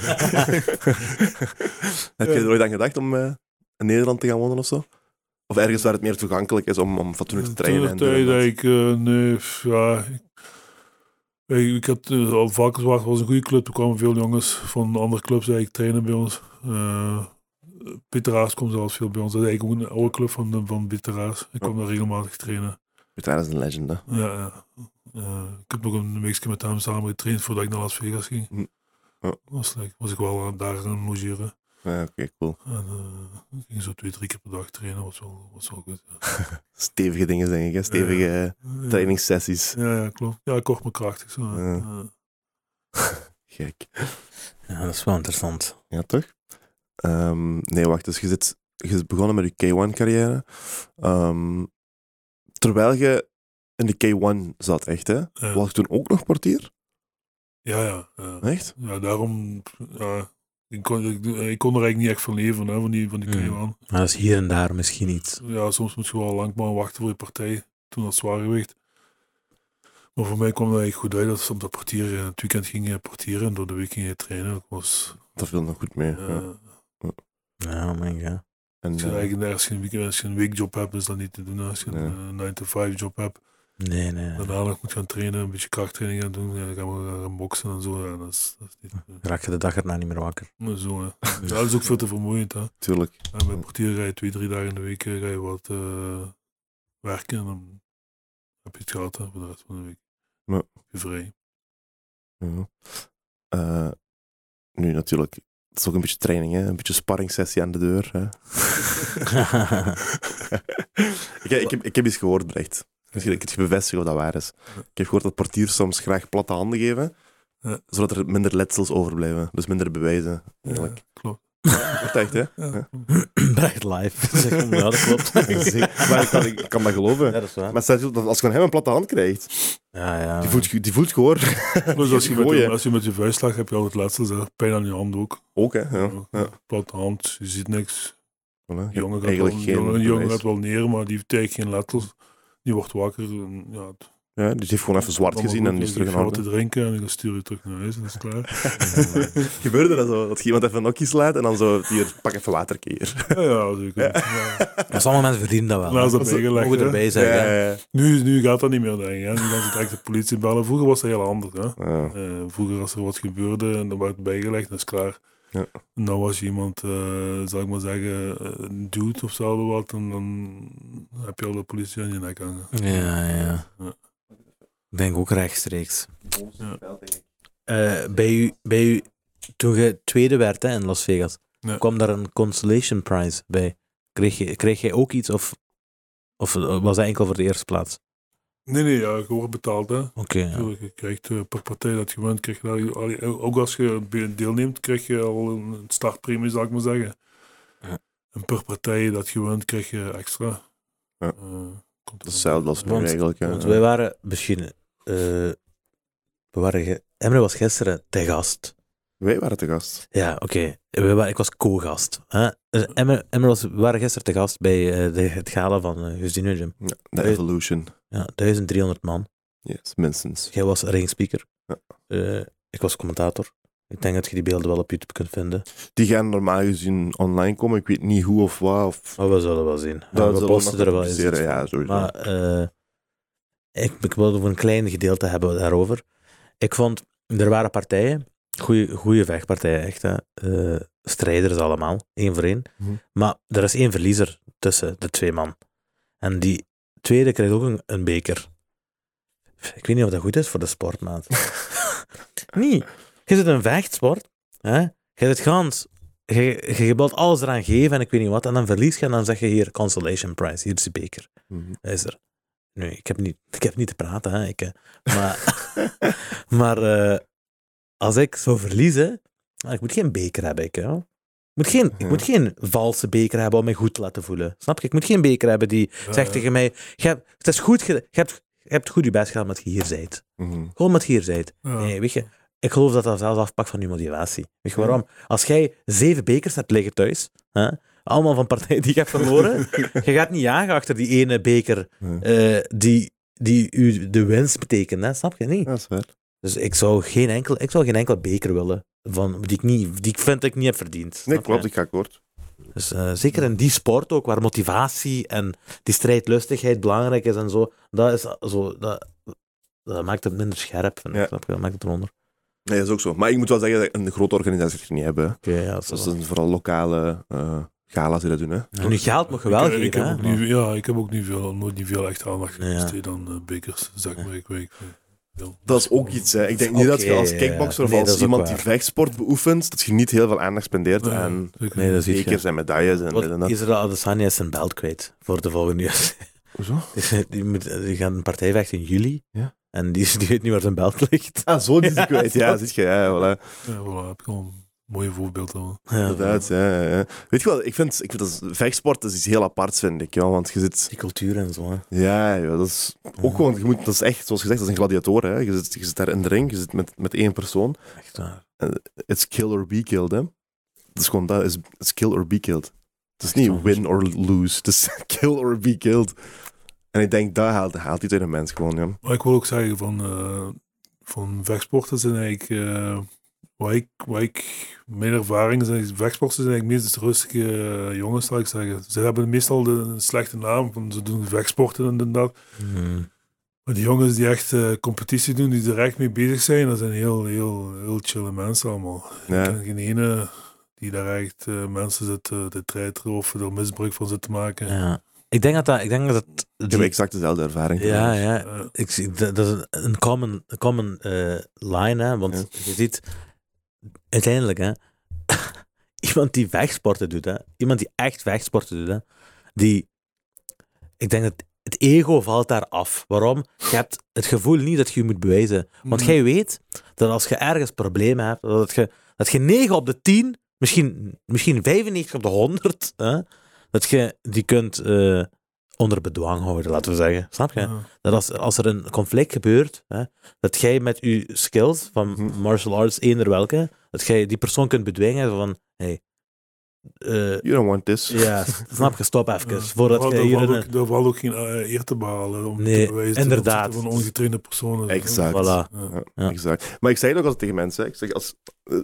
A: Heb je er ooit aan gedacht om eh, in Nederland te gaan wonen of zo? Of ergens waar het meer toegankelijk is om, om fatsoenlijk
C: Eh,
A: te trainen? en dit en
C: tijd
A: dat?
C: dat ik, eh, nee, pff, ja. Ik, ik, ik had eh, al vaker gewacht, was een goede club. Er kwamen veel jongens van andere clubs eigenlijk trainen bij ons. Eh, Peter Haas kwam zelfs veel bij ons. Dat is eigenlijk ook een oude club van, de- van Peter Haas. Ik
A: Oh.
C: kwam daar regelmatig trainen.
A: Peter Haas is een legend, hè.
C: Ja, ja. Eh, ik heb nog een weekje met hem samen getraind voordat ik naar Las Vegas ging.
A: Hm. Ja.
C: Was, leuk. was ik wel aan, daar gaan logeren.
A: Ja, Oké, cool.
C: En, eh, ik ging zo twee, drie keer per dag trainen. Was wel, was wel goed.
A: Stevige dingen, denk ik. Hè? Stevige
C: Ja.
A: eh, trainingssessies.
C: Ja, ja, klopt. Ja, kort maar krachtig. Zo.
A: Ja.
C: Ja.
A: Gek.
B: Ja, dat is wel interessant.
A: Ja, toch? Ehm, nee, wacht. Dus je, zit, je is begonnen met je K1-carrière. Ehm, terwijl je in de K1 zat, echt, hè?
C: Ja.
A: Was je toen ook nog portier?
C: Ja, ja, ja.
A: Echt?
C: Ja, daarom... Ja, ik, kon, ik, ik kon er eigenlijk niet echt van leven, hè, van die, van die
B: Hmm.
C: K1.
B: Maar dat is hier en daar misschien iets.
C: Ja, soms moet je wel lang maar wachten voor je partij. Toen dat zwaargewicht. Maar voor mij kwam dat eigenlijk goed uit. Dat ze op dat portier, eh, het weekend ging je portieren en door de week ging je trainen. Dat was...
A: Dat viel nog goed mee.
C: eh,
A: ja.
B: Ja, mijn god.
A: En,
C: Als je
A: eh,
C: eigenlijk nergens geen weekend, als je een weekjob hebt, is dat niet te doen. Als je
A: Nee.
C: een eh, 9-to-5 job hebt,
B: Nee, nee. nee.
C: daarna nog moet gaan trainen, een beetje krachttraining gaan doen, ja, dan gaan we gaan boksen en zo. Ja, dat is, dat is niet... eh,
B: Raak je de dag erna niet meer wakker.
C: Maar zo, hè. Ja, dat is ook veel te vermoeiend, hè.
A: tuurlijk.
C: En bij portier ga je twee, drie dagen in de week eh, ga je wat eh, werken en dan heb je het gehad hè, voor de rest van de week.
A: Ja.
C: Heb Je vrij.
A: Ja. Eh, nu natuurlijk, het is ook een beetje training, hè? een beetje sparringssessie aan de deur. Hè? ik, heb- ik, heb, ik heb iets gehoord, Brecht. Misschien dat ik het bevestig of dat waar is. Ik heb gehoord dat portiers soms graag platte handen geven,
C: Ja.
A: zodat er minder letsels overblijven, dus minder bewijzen. Eigenlijk.
C: Ja, klopt.
A: Wordt echt, hè?
C: Ja.
B: Brecht live. Zeg, ja, dat klopt.
A: Zeker. Maar ik kan, ik kan dat geloven.
B: Ja, dat is waar.
A: Maar stel je voor dat als je van hem een platte hand
B: Ah.
A: krijgt,
B: Ja, ja.
A: die voelt, ge- die voelt gewoon
C: Dus als je, met
A: Goeie.
C: je, als je met je vuist slaat, heb je altijd letsels. hè. Pijn aan je hand ook.
A: ook, hè? Ja. Ja.
C: Platte hand, je ziet niks.
A: Voilà.
C: Een jongen gaat, wel,
A: Eigenlijk
C: een
A: geen
C: jongen, een jongen
A: bewijs.
C: gaat wel neer, maar die heeft eigenlijk geen letsels. Die wordt wakker. En, ja, het-
A: Ja, dus die heeft gewoon even zwart
C: allemaal
A: gezien
C: goed,
A: en die is
C: dus
A: terug
C: ik
A: in
C: ga wat
A: orde.
C: te drinken en dan stuur je terug naar huis en dat is klaar.
A: Gebeurde dat zo? Dat je iemand even een nokkie slaat en dan zo, hier, pak even water hier.
C: ja, ja, zeker. Ja.
B: Maar sommige mensen verdienen dat wel.
C: Laat
B: hè.
C: dat bijgelegd,
B: Mogen
C: hè.
B: erbij zijn. hè.
A: ja.
C: Nu, nu gaat dat niet meer, denk ik. Hè. Nu gaan ze direct de politie bellen. Vroeger was dat heel anders. Hè.
A: Ja.
C: Eh, vroeger als er wat gebeurde en er werd bijgelegd, dan is het klaar.
A: Ja.
C: En dan was je iemand, eh zal ik maar zeggen, eh, een dude of zo wat, en dan heb je al de politie aan je nek hangen.
B: Ja, ja.
C: Ja.
B: Ik denk ook rechtstreeks.
C: Ja.
B: Eh, bij, u, bij, u, toen je tweede werd hè, in Las Vegas,
C: Ja.
B: kwam daar een consolation prize bij. Kreeg je, kreeg jij ook iets of, of eh, was dat enkel voor de eerste plaats?
C: Nee, nee, ja, je wordt betaald, hè.
B: Oké, ja.
C: Tuurlijk, je krijgt eh, per partij dat je wint, krijg je daar, allee, eh, ook als je be- deelneemt, krijg je al een startpremie, zou ik maar zeggen.
B: Ja.
C: En per partij dat je wint, krijg je extra.
A: Ja.
C: Eh, komt er
A: Dat is hetzelfde als nu
B: Want-
A: eigenlijk. Ja.
B: Want wij waren misschien... eh, we waren ge- Emre was gisteren te gast.
A: Wij waren te gast.
B: Ja, oké. We waren- Ik was co-gast. hè. Dus Emre, Emre was, we waren gisteren te gast bij eh, de, het gala van eh Justine Gym.
A: Ja, de
B: Wij-
A: Evolution.
B: Ja, 1300 man.
A: Yes, minstens.
B: Jij was ringspeaker.
A: Ja.
B: Eh, ik was commentator. Ik denk dat je die beelden wel op YouTube kunt vinden.
A: Die gaan normaal gezien online komen. Ik weet niet hoe of waar. Of...
B: Maar we zullen wel zien.
A: Dat zullen
B: we
A: we
B: posten
A: nog
B: er wel eens.
A: publiceren,
B: iets
A: ja,
B: van.
A: sowieso.
B: Maar eh, ik, ik wil over een klein gedeelte hebben daarover. Ik vond, er waren partijen, goede vechtpartijen, echt. Hè. Eh, strijders allemaal, één voor één.
A: Mhm.
B: Maar er is één verliezer tussen de twee man. En die tweede krijgt ook een, een beker. Ik weet niet of dat goed is voor de sportmaat. nee, je zit in een vechtsport. Hè? Je zit gans je, je wilt alles eraan geven en ik weet niet wat. En dan verlies je en dan zeg je hier consolation prize. Hier is de beker.
A: Mhm.
B: Hij Is er. Nu, ik heb niet, ik heb niet te praten. Hè. Ik, eh, maar maar eh, als ik zou verliezen... nou, Ik moet geen beker hebben. Ik, hè. Ik moet geen, ik
A: Ja.
B: moet geen valse beker hebben om mij goed te laten voelen. Snap je? Ik moet geen beker hebben die zegt tegen mij... Je hebt, het is goed, ge- je, hebt, je hebt goed je best gedaan met je hier zijt.
A: Mhm.
B: Gewoon met je hier zijt.
C: Ja.
B: Nee, weet je, ik geloof dat dat zelfs afpakt van je motivatie. Weet je waarom? Als jij zeven bekers hebt liggen thuis, hè, allemaal van partijen die je hebt verloren, je gaat niet jagen achter die ene beker
A: Ja.
B: eh, die, die u de winst betekent, hè, snap je niet?
A: Ja, dat is waar.
B: Dus ik zou geen enkel, ik zou geen enkel beker willen van, die, ik niet, die ik vind dat ik niet heb verdiend.
A: Nee,
B: snap je?
A: klopt. Ik ga akkoord.
B: Dus, eh, zeker in die sport ook, waar motivatie en die strijdlustigheid belangrijk is en zo, dat, is, zo, dat, dat maakt het minder scherp, vind ik,
A: Ja.
B: snap je? Dat maakt het eronder.
A: Nee, dat is ook zo. Maar ik moet wel zeggen dat een grote organisatie het niet hebben.
B: Oké, ja, dat is
A: Dat
B: wel-
A: zijn vooral lokale eh gala's die dat doen. Hè.
B: En nu geld mag je wel
C: ik,
B: geven,
C: ik heb
B: hè?
C: ook niet, Ja, ik heb ook niet veel, nooit niet veel echt aandacht
B: Ja.
C: besteed aan eh, bekers, zeg maar. Ik weet, ja.
A: Dat is ook iets. Hè. Ik denk niet dat je
B: Oké,
A: als
B: ja.
A: kickboxer of
B: Nee, dat
A: als
B: is ook
A: iemand die
B: waar.
A: vechtsport beoefent, dat je niet heel veel aandacht spendeert
C: Ja,
A: aan
C: zeker.
B: Nee, dat zie
A: bekers
B: je.
A: en medailles. En, en
B: Want
A: dat.
B: Israël Adesanya is zijn belt kwijt voor de volgende UFC.
A: Hoezo?
B: die, moet, eh, die gaat een partij vechten in juli.
A: Ja.
B: En die, die weet niet waar zijn belt ligt.
A: Ah, zo die is die kwijt. Ja,
B: Ja,
A: zit je. Ja, voilà.
C: Ja, voilà, heb ik al een mooie voorbeeld dan.
A: Inderdaad. Ja, ja, ja. Weet je wel, ik vind, ik vind dat is- vechtsport dat is iets heel aparts, vind ik. Ja, want je zit...
B: Die cultuur en zo. Hè.
A: Ja, ja, dat is ook gewoon... Je moet, dat is echt, zoals gezegd, dat is een gladiator. Hè. Je, zit, je zit daar in de ring, je zit met, met één persoon.
B: Echt waar.
A: It's kill or be killed, hè. Dat is gewoon dat. Is, it's kill or be killed. Het is
B: Echt
A: niet
B: waar.
A: win or lose. Het is kill or be killed. En ik denk, dat haalt, haalt iets uit een mens gewoon, ja.
C: Maar ik wil ook zeggen van, eh, van vechtsporters zijn eigenlijk, eh, waar, ik, waar ik mijn ervaring zijn, vechtsporters zijn eigenlijk meestal rustige eh, jongens, zou ik zeggen. Ze hebben meestal de, een slechte naam, want ze doen vechtsporten en dit en dat. Maar die jongens die echt eh, competitie doen, die er echt mee bezig zijn, dat zijn heel, heel, heel chille mensen allemaal. Ik
A: ja.
C: ken geen ene die daar echt eh, mensen zit eh, te treiteren of er misbruik van zit te maken.
B: Ja. Ik denk dat dat... Ik denk dat dat
A: Ik heb
B: die-
A: exact dezelfde ervaring.
B: ja, ja.
C: Eh,
B: Ik, zie- dat, dat is een- een common, een common eh, line, hè? want
A: Ja.
B: je ziet uiteindelijk, hè, iemand die vechtsporten doet, hè, iemand die echt vechtsporten doet, hè, die, ik denk dat het ego valt daar af. Waarom? Je hebt het gevoel niet dat je je moet bewijzen. Want
C: Mhm.
B: jij weet dat als je ergens problemen hebt, dat je, dat je 9 op de 10, misschien, misschien 95 op de 100, hè, dat je die kunt eh, onder bedwang houden, laten we zeggen. Snap je?
C: ja.
B: Dat als, als er een conflict gebeurt, hè, dat jij met je skills van
A: Mhm.
B: martial arts, eender welke, dat jij die persoon kunt bedwingen van, hey, eh,
A: You don't want this.
B: ja, s- snap je, stop even,
C: Ja,
B: voordat
C: daar
B: jij
C: valt-
B: hier
C: daar
B: in
C: valt
B: een...
C: ook, daar valt ook geen eh, eer te behalen. Om
B: Nee,
C: te bewijzen ten
B: inderdaad.
C: opzichte Van ongetrainde personen.
A: Exact.
B: Voilà.
C: Ja.
B: Ja.
A: Exact. Maar ik zei het ook altijd tegen mensen. hè. Ik zeg, als, eh,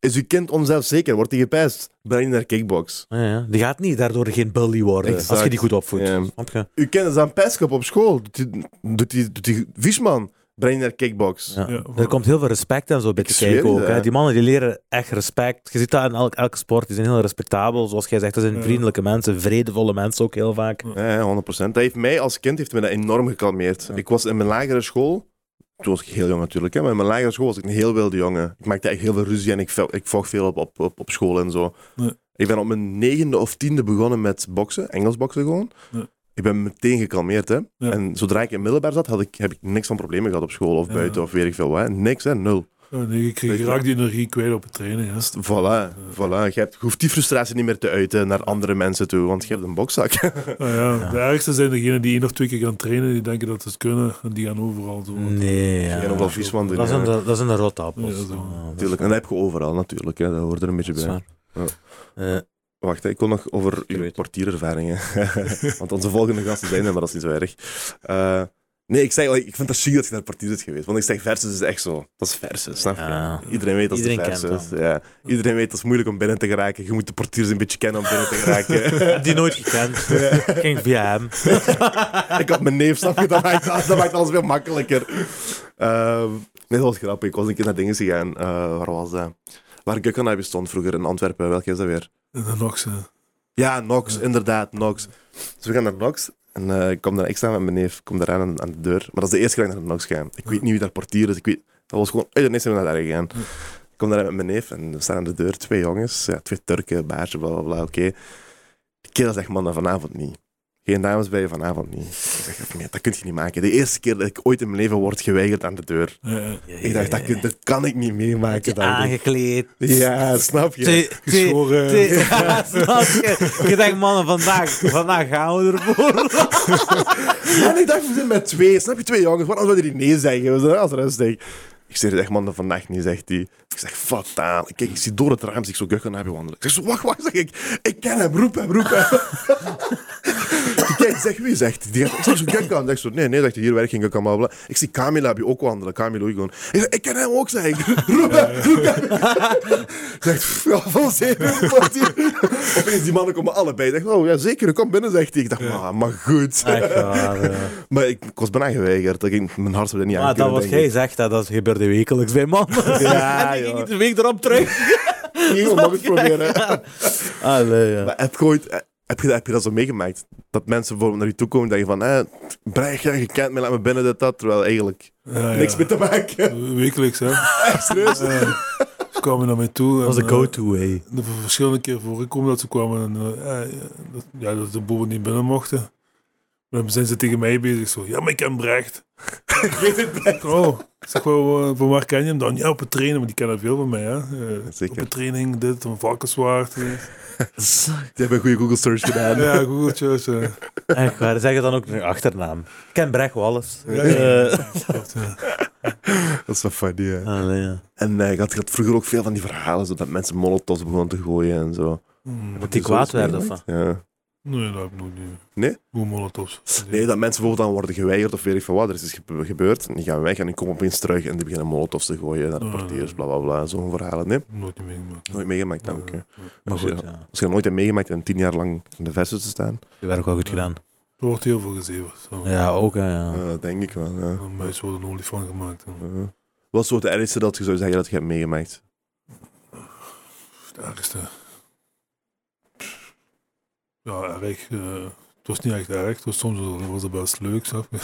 A: is uw kind onzelfzeker? Wordt hij gepest? Breng je naar kickbox.
B: Ja, ja. Die gaat niet daardoor geen bully worden, als je
A: Exact.
B: die goed opvoedt.
A: Ja.
B: Snap je?
A: Uw kind is aan pestkop op school. Doet hij- Doet hij- doet hij vies man? Breng je naar kickbox.
B: Ja.
C: Ja,
B: er
C: voilà.
B: komt heel veel respect en zo bij
A: Ik
B: te
A: zweer
B: kijken
A: je
B: ook.
A: dat,
B: Hè.
A: hè.
B: Die mannen die leren echt respect. Je ziet dat in elk, elke sport. Die zijn heel respectabel, zoals jij zegt. Dat zijn
C: Ja.
B: vriendelijke mensen, vredevolle mensen ook heel vaak.
A: Ja, ja, 100%. Dat heeft mij als kind heeft me dat enorm gekalmeerd. Ik was in mijn lagere school. toen was ik heel jong natuurlijk, hè, maar in mijn lagere school was ik een heel wilde jongen. Ik maakte echt heel veel ruzie en ik, vo- ik vocht veel op, op, op, op school en zo.
C: Ja.
A: Ik ben op mijn negende of tiende begonnen met boksen, Engels boksen gewoon.
C: Ja.
A: Ik ben meteen gekalmeerd, hè.
C: Ja.
A: En zodra ik in middelbaar zat, had ik, heb ik niks van problemen gehad op school of
C: Ja.
A: buiten of weet ik veel wat. Niks, hè. Nul.
C: Ja, nee, je kreeg
A: Weet je-
C: raak die energie kwijt op het trainen. Ja.
A: Voilà, voilà. Je, hebt, je hoeft die frustratie niet meer te uiten naar andere mensen toe, want je hebt een bokzak.
C: Nou ja,
B: Ja.
C: De ergste zijn degenen die één of twee keer gaan trainen, die denken dat ze het kunnen en die gaan overal zo.
B: Mm. Nee, ja.
A: Geen overal vies van doen,
B: Dat is
A: ja.
B: een, dat is een rotte appel.
C: Ja, dat is wel-
A: Natuurlijk, en dat heb je overal natuurlijk, hè. dat hoort er een beetje bij.
B: Eh,
A: Wacht, hè, ik wil nog over
B: Ik
A: uw
B: weet.
A: portierervaringen. Want onze volgende gasten zijn er, maar dat is niet zo erg. Eh, nee, ik, zeg, ik vind het chic dat je naar portier bent geweest. Want ik zeg versus is echt zo. Dat is versus, snap je?
B: Ja.
A: Iedereen weet dat
B: Iedereen
A: het
B: kent
A: versus
B: dat.
A: is. Ja. Iedereen weet dat het moeilijk om binnen te geraken. Je moet de portiers een beetje kennen om binnen te geraken.
B: Die nooit gekend. Ging via hem.
A: ik had mijn neef, snap je? Dat maakt, dat maakt alles veel makkelijker. Ehm, nee, dat was grappig. Ik was een keer naar dingen gegaan. Eh, waar was dat? Waar Gukkenhuis stond vroeger in Antwerpen. Welke is dat weer?
C: En dan nog ze.
A: Ja, Nox,
C: Ja.
A: inderdaad, Nox. Dus we gaan naar Nox. En eh, ik, kom daar, ik sta met mijn neef, ik kom daar aan, aan de deur. Maar dat is de eerste keer dat ik naar Nox ga. Ik weet niet wie daar portier is. Ik weet, dat was gewoon uit de niks zijn we naar daar gegaan.
C: Ja.
A: Ik kom daar met mijn neef en we staan aan de deur. Twee jongens, ja, twee Turken, baardje, bla bla bla. Oké. Die kerel zegt, man, dat vanavond niet. Geen dames bij je vanavond niet. Ik zeg, nee, dat kun je niet maken. De eerste keer dat ik ooit in mijn leven word geweigerd aan de deur.
C: Ja, ja.
A: Ik dacht, dat, kun- dat kan ik niet meemaken.
B: je
A: dat ik-
B: aangekleed.
A: Ja, snap je?
B: Twee- twee-
C: Geschoren.
B: twee- Ja, snap je? Ik denk, mannen, vandaag, vandaag gaan we ervoor.
A: En ik dacht, we zijn met twee. Snap je, twee jongens. Waarom zouden die nee zeggen? We zijn als rustig. Ik zeg, echt man, dat vannacht niet, zegt hij. Ik zeg, fataal. Kijk, ik zie door het raam, zie ik zo Gukken naar je wandelen. Ik zeg, zo, wacht, wacht, zeg ik. Ik ken hem, roep hem, roep hem. ik kijk, ik zeg, wie zegt hij? Die gaat, ik zeg, zo Gukken. Ik zeg, zo, nee, nee, zegt hij, hier werkt geen Gukken, bla, bla. Ik zie Camila, heb je ook wandelen, Camilo gewoon. Ik zeg, ik ken hem ook, zeg ik. Roep hem, roep hem. Zegt, "Pff, ja, van zeven, wat hier. Opeens, die mannen komen allebei. Ik zeg, oh, ja, zeker, kom binnen, zegt hij. Ik dacht, maar, maar goed.
B: Echt waar, ja.
A: Maar ik, ik was bijna geweigerd. Dat ging, mijn hart zou dat niet aan
B: Maar Ah, dat
A: kunnen,
B: wat
A: denk
B: jij
A: ik.
B: zegt, dat, dat gebeurde wekelijks bij mannen.
A: Ja,
B: en die
A: joh.
B: ging niet de week erop terug.
A: Ik ging het nog eens proberen.
B: Allee, ja.
A: Maar heb, je ooit, heb, je, heb je dat zo meegemaakt? Dat mensen bijvoorbeeld naar je toe komen en denken van... Eh, Brecht, ja, je kent me, laat me binnen, dit, dat. Terwijl eigenlijk
C: Ja, ja.
A: niks meer te maken.
C: Wekelijks, hè?
A: Serieus?
C: Ja. Ze kwamen naar mij toe.
B: Dat was
C: en,
B: de
C: eh,
B: go-to way.
C: de verschillende keer voorgekomen dat ze kwamen en eh, eh, dat, ja, dat de boeren niet binnen mochten. Maar dan zijn ze tegen mij bezig zo, ja, maar ik ken Brecht.
A: Ik weet het niet.
C: Oh, ik zeg, wel, eh, van waar ken je hem dan? Ja, op het trainen, maar die kennen veel van mij, hè. Eh,
A: Zeker.
C: Op het training, dit, een varkenswaard. eh.
A: Die hebben een goede Google search gedaan.
C: Ja, googeltjes. eh.
B: Echt waar, zeg het dan ook een achternaam. Ik ken Brecht Wallace.
C: Ja, ja.
B: Eh,
C: Dat, eh,
A: Dat is wel funny, hè.
B: allee, ja.
A: En eh, ik, had, ik had vroeger ook veel van die verhalen, zo dat mensen molotovs begonnen te gooien en zo. Dus
C: mm,
B: Dat die kwaad werden, of wat?
A: Ja.
C: nee, dat heb ik nog niet.
A: Nee?
C: Hoe molotovs.
A: Nee, dat mensen bijvoorbeeld dan worden geweigerd of weet ik veel wat. Er is iets gebe- gebeurd en die gaan weg en die komen opeens terug en die beginnen molotovs te gooien naar de
C: Ah.
A: portiers, bla bla bla. Zo'n verhalen, nee.
C: Nooit niet meegemaakt.
A: Nooit meegemaakt, dank je.
C: Ja.
B: Maar goed, ja.
A: Misschien nooit hebt meegemaakt en tien jaar lang in de versus te staan.
B: Die werden ook wel goed gedaan.
C: Er wordt heel veel gezeverd. Zo.
B: Ja, ook, hè,
C: Ah.
B: ja.
A: Ja, dat eh, denk ik wel. Ja.
C: Een muis wordt een olifant gemaakt. en-
A: Ja. Wat is zo het ergste dat je zou zeggen dat je hebt meegemaakt?
C: Het ergste. Ja, erg. eh, het was niet echt erg. Het was soms wel- was het best leuk, snap je?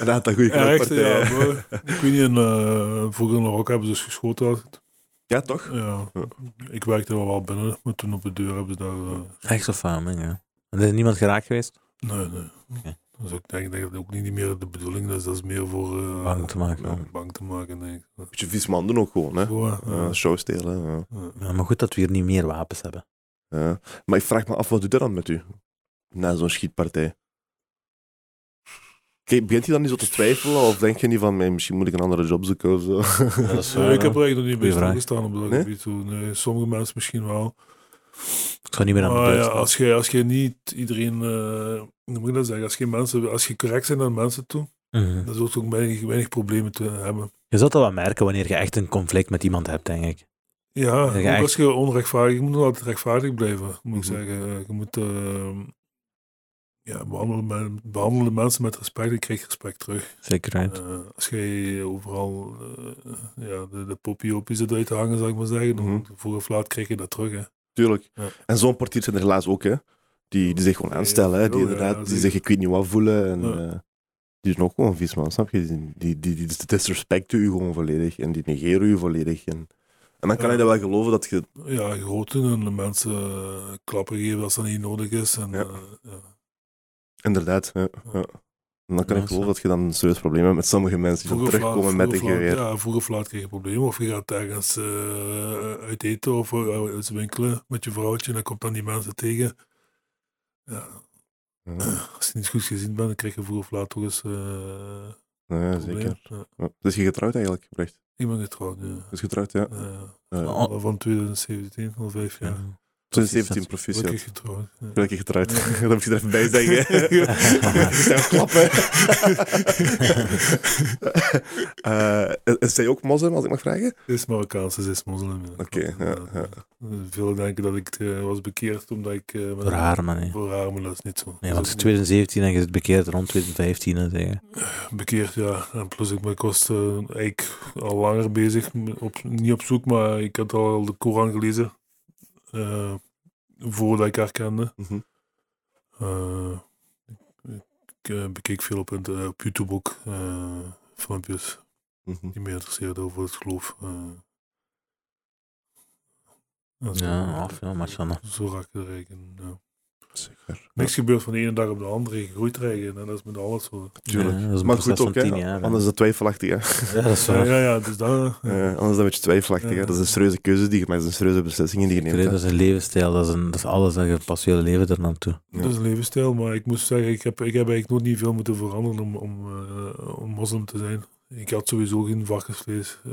A: Een aantal goede
C: Ergste,
A: knoppartijen.
C: ja. maar ik weet niet, in, eh, vroeger in Marokko hebben ze dus geschoten. altijd.
A: Ja, toch?
C: Ja.
A: Ja.
C: Ik werkte wel wel binnen, maar toen op de deur hebben ze daar... eh,
B: Echt zo faming, ja. En er is niemand geraakt geweest?
C: nee, nee.
B: Oké.
C: Dus ik denk dat dat ook niet meer de bedoeling is. Dat is meer voor... eh,
B: Bang te maken.
C: ja, bang te maken, denk ik.
A: Beetje vies man doen ook gewoon, hè?
C: Zo, eh,
A: Ja, show stelen. Ja.
C: ja.
B: Ja, maar goed dat we hier niet meer wapens hebben.
A: Ja. Maar ik vraag me af, wat doet dat dan met u? Na zo'n schietpartij. Kijk, begint hij dan niet zo te twijfelen? Of denk je niet van, nee, misschien moet ik een andere job zoeken of zo?
B: dat is
C: Nee, ik heb er eigenlijk nog niet bij
B: eh, Goeie vraag.
C: stilgestaan op dat
A: Nee?
C: gebied. toen. Nee, sommige mensen misschien wel.
B: Ik zou niet meer aan de
C: Maar
B: deur
C: Oh, ja,
B: staan.
C: als je, als je niet iedereen, eh, hoe moet ik dat zeggen, als je, mensen, als je correct bent naar mensen toe,
B: Mhm.
C: dan zul je ook weinig, weinig problemen te hebben.
B: Je zult dat wel merken wanneer je echt een conflict met iemand hebt, denk ik.
C: Ja,
B: je
C: ook
B: echt-
C: als je onrechtvaardig, je moet altijd rechtvaardig blijven, moet ik
A: Mhm.
C: zeggen. Je moet eh, ja, behandelen, men- behandelen mensen met respect, je krijgt respect terug.
B: Zeker uit.
C: Eh, als jij overal eh, ja, de, de poppie-oppies eruit hangen, zou ik maar zeggen, dan
A: Mhm.
C: vroeg of laat krijg je dat terug. Hè.
A: Tuurlijk.
C: Ja.
A: En zo'n portier zijn er helaas ook, hè? Die, die zich gewoon
C: Ja,
A: aanstellen, hè? Die
C: ja,
A: inderdaad,
C: ja,
A: die
C: zeker.
A: zich ik weet niet wat voelen. En,
C: Ja.
A: eh, Die zijn ook gewoon vies, man. Snap je? Die, die, die, die disrespecten u gewoon volledig. En die negeren u volledig. En, en dan kan
C: Ja.
A: ik dat wel geloven dat je...
C: Ja, groten en de mensen eh, klappen geven als dat niet nodig is. En,
A: Ja.
C: eh, ja.
A: Inderdaad, ja, ja. En dan kan
B: Ja,
A: ik
B: zo.
A: geloven dat je dan een serieus probleem hebt met sommige mensen die dan
C: Vroeger of laat-
A: terugkomen met een
C: vroeger of laat-
A: geweer.
C: Ja, vroeg of laat kreeg je problemen. Of je gaat ergens eh, uit eten of eh, uit winkelen met je vrouwtje en dan komt dan die mensen tegen. Ja,
A: Ja,
C: als je niet goed gezien bent, dan krijg je vroeg of laat toch eens eh
A: ja,
C: problemen.
A: zeker.
C: Ja.
A: Ja. Dus je getrouwd eigenlijk, Brecht?
C: Ik ben getrouwd, ja.
A: Dus getrouwd, ja.
C: Eh,
A: ja.
B: Oh.
C: al van 2017, al vijf jaar.
B: Ja.
A: Toen 17
C: ben ik
A: proficiat.
C: getrouwd. ja.
A: Gelukkig getrouwd. Dat moet je er even bij zeggen. Ze zijn klappen. Eh, is zij ook moslim, als ik mag vragen?
C: Ze is Marokkaans, ze is moslim. ja.
A: Oké, ja,
C: Ja,
A: ja.
C: ja. Veel denken dat ik eh, was bekeerd omdat ik... eh, met-
B: Door haar, man. hè.
C: Voor haar, maar dat is niet zo.
B: Nee,
C: Dat
B: want
C: is
B: het is
C: ook
B: 2017 en je zit bekeerd rond 2015 en zeggen.
C: bekeerd, ja. En plus, ik ben kost eh, eigenlijk al langer bezig. m- Op, niet op zoek, maar ik had al de Koran gelezen. eh, voordat ik haar kende.
A: Mhm.
C: Eh, ik ik eh, bekeek veel op, inter- op YouTube ook. eh, filmpjes
A: Mhm.
C: die me interesseerden over het geloof. eh. En zo-
B: Ja, of ja, maar Sanne.
C: Zo raak je er eigenlijk in, ja.
A: Zeker.
C: Niks gebeurt van de ene dag op de andere. Je groeit er eigenlijk in, en dat is met alles zo.
A: Tuurlijk.
B: Ja, dat is een
A: maar
B: proces
A: goed ook,
B: van
A: hè.
B: 10 jaar. hè.
A: Anders is dat twijfelachtig, hè.
B: Ja, dat is
C: Ja,
B: waar.
C: ja, ja, dus dat...
A: Eh, anders is dat een beetje twijfelachtig, hè. Dat is een serieuze keuze die je maakt, dat zijn serieuze beslissingen die je neemt.
B: Dat
A: hè.
B: is een levensstijl, dat is, een, dat is alles dat je past je hele leven ernaartoe.
A: Ja.
C: Dat is een levensstijl, maar ik moest zeggen, ik heb, ik heb eigenlijk nooit niet veel moeten veranderen om, om, eh, om moslim te zijn. Ik had sowieso geen varkensvlees eh,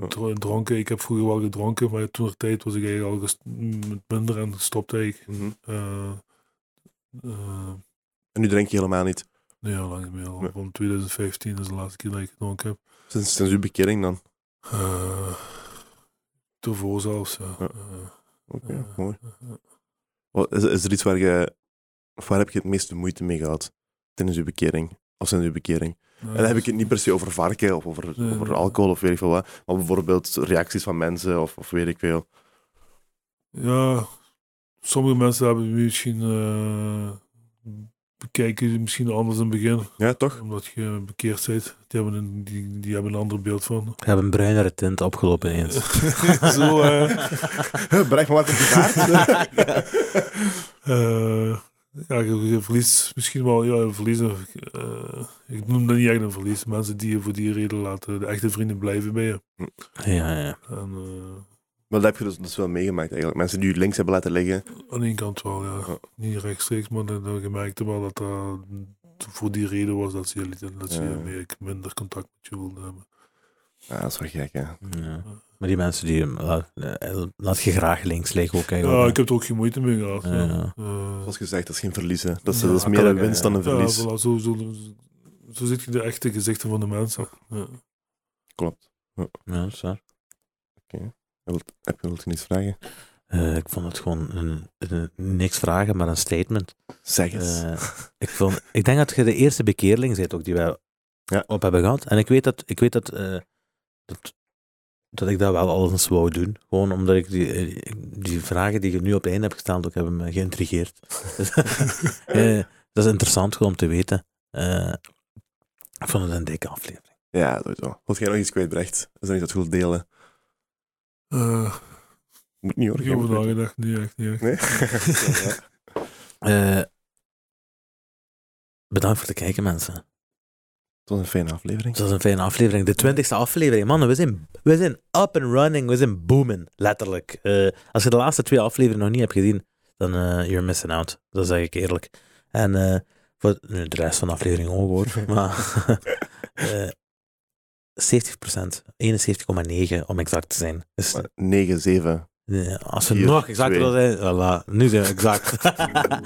A: ja.
C: dro- dronken. Ik heb vroeger wel gedronken, maar toen tijd was ik eigenlijk al gest- met minder en gestopt eigenlijk.
A: Mhm.
C: Eh, eh,
A: En nu drink je helemaal niet.
C: nee, al lang niet meer. Al
A: Ja.
C: Van 2015 is de laatste keer dat ik gedronken heb.
A: Sinds, sinds uw bekering dan.
C: Eh daarvoor zelfs, ja.
A: Ja.
C: Eh,
A: Oké,
C: Ja.
A: mooi.
C: eh,
A: Wat, is, is er iets waar je... Of waar heb je het meeste moeite mee gehad? Tijdens uw bekering. Of sinds uw bekering.
C: eh,
A: En dan heb ik het niet per se over varken of over,
C: Nee,
A: over
C: nee.
A: alcohol of weet ik veel wat. Maar bijvoorbeeld reacties van mensen of, of weet ik veel.
C: Ja, sommige mensen hebben nu misschien. eh bekijken je misschien anders in het begin,
A: Ja, toch?
C: omdat je bekeerd bent. Die hebben een, die, die hebben een ander beeld van.
B: Ik heb een bruinere tint opgelopen eens.
C: Zo, eh
A: Bereik maar wat op je kaart.
C: eh, ja, je, je verliest misschien wel. Ja, je verliest, eh, ik noem dat niet echt een verlies. Mensen die je voor die reden laten, de echte vrienden blijven bij je.
B: Ja, ja.
C: En, eh,
A: Maar dat heb je dus, dus wel meegemaakt eigenlijk. Mensen die je links hebben laten liggen. Oh,
C: Aan één kant wel, Oh, ja.
A: Ja.
C: Niet rechtstreeks, maar dan, dan gemerkte wel dat dat voor die reden was dat ze, je lieten- dat ze
A: Ja.
C: je meer- minder contact met je wilden hebben.
A: Ah, dat is wel gek, hè.
B: Ja. Maar die mensen die hem laat, eh, laat je graag links liggen ook eigenlijk.
C: Ja, ik heb er ook geen moeite mee gehad.
B: Ja, ja.
C: Ja, Eh,
A: Zoals gezegd, dat is geen verliezen. Dat is,
C: Ja,
A: dat is
B: dat
A: meer
B: kan
A: een
B: ook,
A: winst
B: ja.
A: dan een
C: ja,
A: verlies.
C: voilà, zo, zo, zo zit je de echte gezichten van de mensen. Ja.
A: Klopt.
B: Ja, dat is waar.
A: Je wilt- Heb je wilt je iets vragen?
B: Eh, ik vond het gewoon een, een- niks vragen, maar een statement.
A: Zeg eens.
B: Eh, ik, vond, ik denk dat je de eerste bekeerling bent ook die wij
A: Ja.
B: op hebben gehad. En ik weet dat ik, weet dat, eh, dat, dat ik dat wel al eens wou doen. Gewoon omdat ik die, eh, die vragen die je nu op het einde hebt gesteld ook hebben me geïntrigeerd. Eh, dat is interessant gewoon om te weten. Eh, ik vond het een dikke aflevering.
A: ja, sowieso. Wilt jij nog iets kwijtbrecht? Is er iets dat je wilt delen?
C: Eh,
A: Moet niet hoor.
C: ik
A: geen
C: heb over
A: moeite.
C: nagedacht, niet echt, niet echt.
A: Nee? ja.
B: Eh, bedankt voor het kijken, mensen.
A: Het was een fijne aflevering.
B: Dat is een fijne aflevering. De twintigste aflevering. Mannen, we zijn, we zijn up and running. We zijn booming, letterlijk. Eh, als je de laatste twee afleveringen nog niet hebt gezien, dan eh you're missing out. Dat zeg ik eerlijk. En eh, voor nu, de rest van de aflevering ook hoor. Maar eh 70%, 71,9 om exact te zijn. Dus,
A: Maar 9, 7.
B: eh, als we
A: vier,
B: nog exact
A: twee.
B: willen zijn, voilà, nu zijn we exact.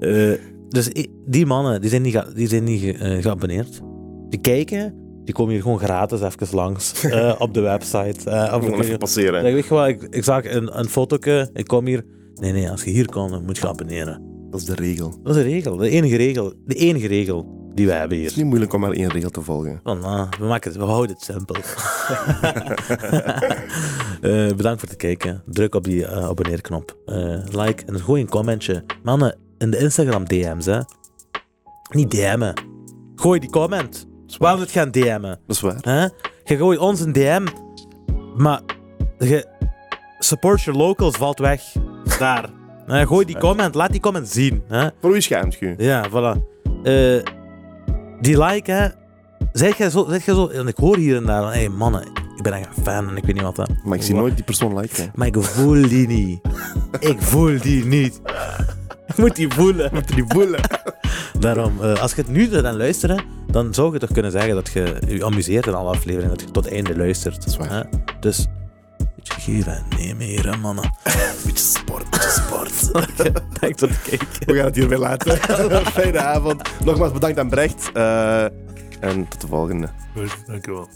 B: Eh, dus i- die mannen, die zijn niet, ga- die zijn niet ge- eh, geabonneerd. Die kijken, die komen hier gewoon gratis even langs eh, op de website. eh, op de
A: Gewoon even passeren.
B: Zeg, weet je wat, ik, ik zag een, een fotootje, ik kom hier. Nee, nee, als je hier komt, dan moet je abonneren.
A: Dat is de regel.
B: Dat is de regel, de enige regel, de enige regel die wij hebben
A: Het is
B: hier.
A: niet moeilijk om maar één regel te volgen.
B: Van, ah, we, maken het, we houden het simpel. Eh, bedankt voor het kijken. Druk op die eh, abonneerknop. Eh, like en gooi een commentje. Mannen, in de Instagram DM's, hè. Niet DM'en. Gooi die comment. Waarom het gaan DM'en?
A: Dat is waar.
B: Hè? Je gooit ons een DM, maar je support your locals valt weg. Daar. Hè, gooi die comment, laat die comment zien. Hè?
A: Voor wie schaamt je?
B: Ja, voilà. Eh, die like, hè. Zeg jij zo, zeg jij zo, en ik hoor hier en daar, hé hey, mannen, ik ben echt een fan en ik weet niet wat. Hè.
A: Maar ik zie nooit die persoon liken.
B: Maar ik voel die niet. Ik voel die niet. Ik moet die voelen.
A: Met die boelen.
B: Daarom, eh, als je het nu dan luisteren, dan zou je toch kunnen zeggen dat je je amuseert in alle afleveringen, dat je tot het einde luistert.
A: is waar.
B: Hè? Dus, een beetje geven en nemen hier, hè, mannen.
A: Beetje sport, beetje sport.
B: Dank tot het kijken.
A: We gaan het hierbij laten. Fijne avond. Nogmaals bedankt aan Brecht. eh, en tot de volgende.
C: Goed, dankjewel.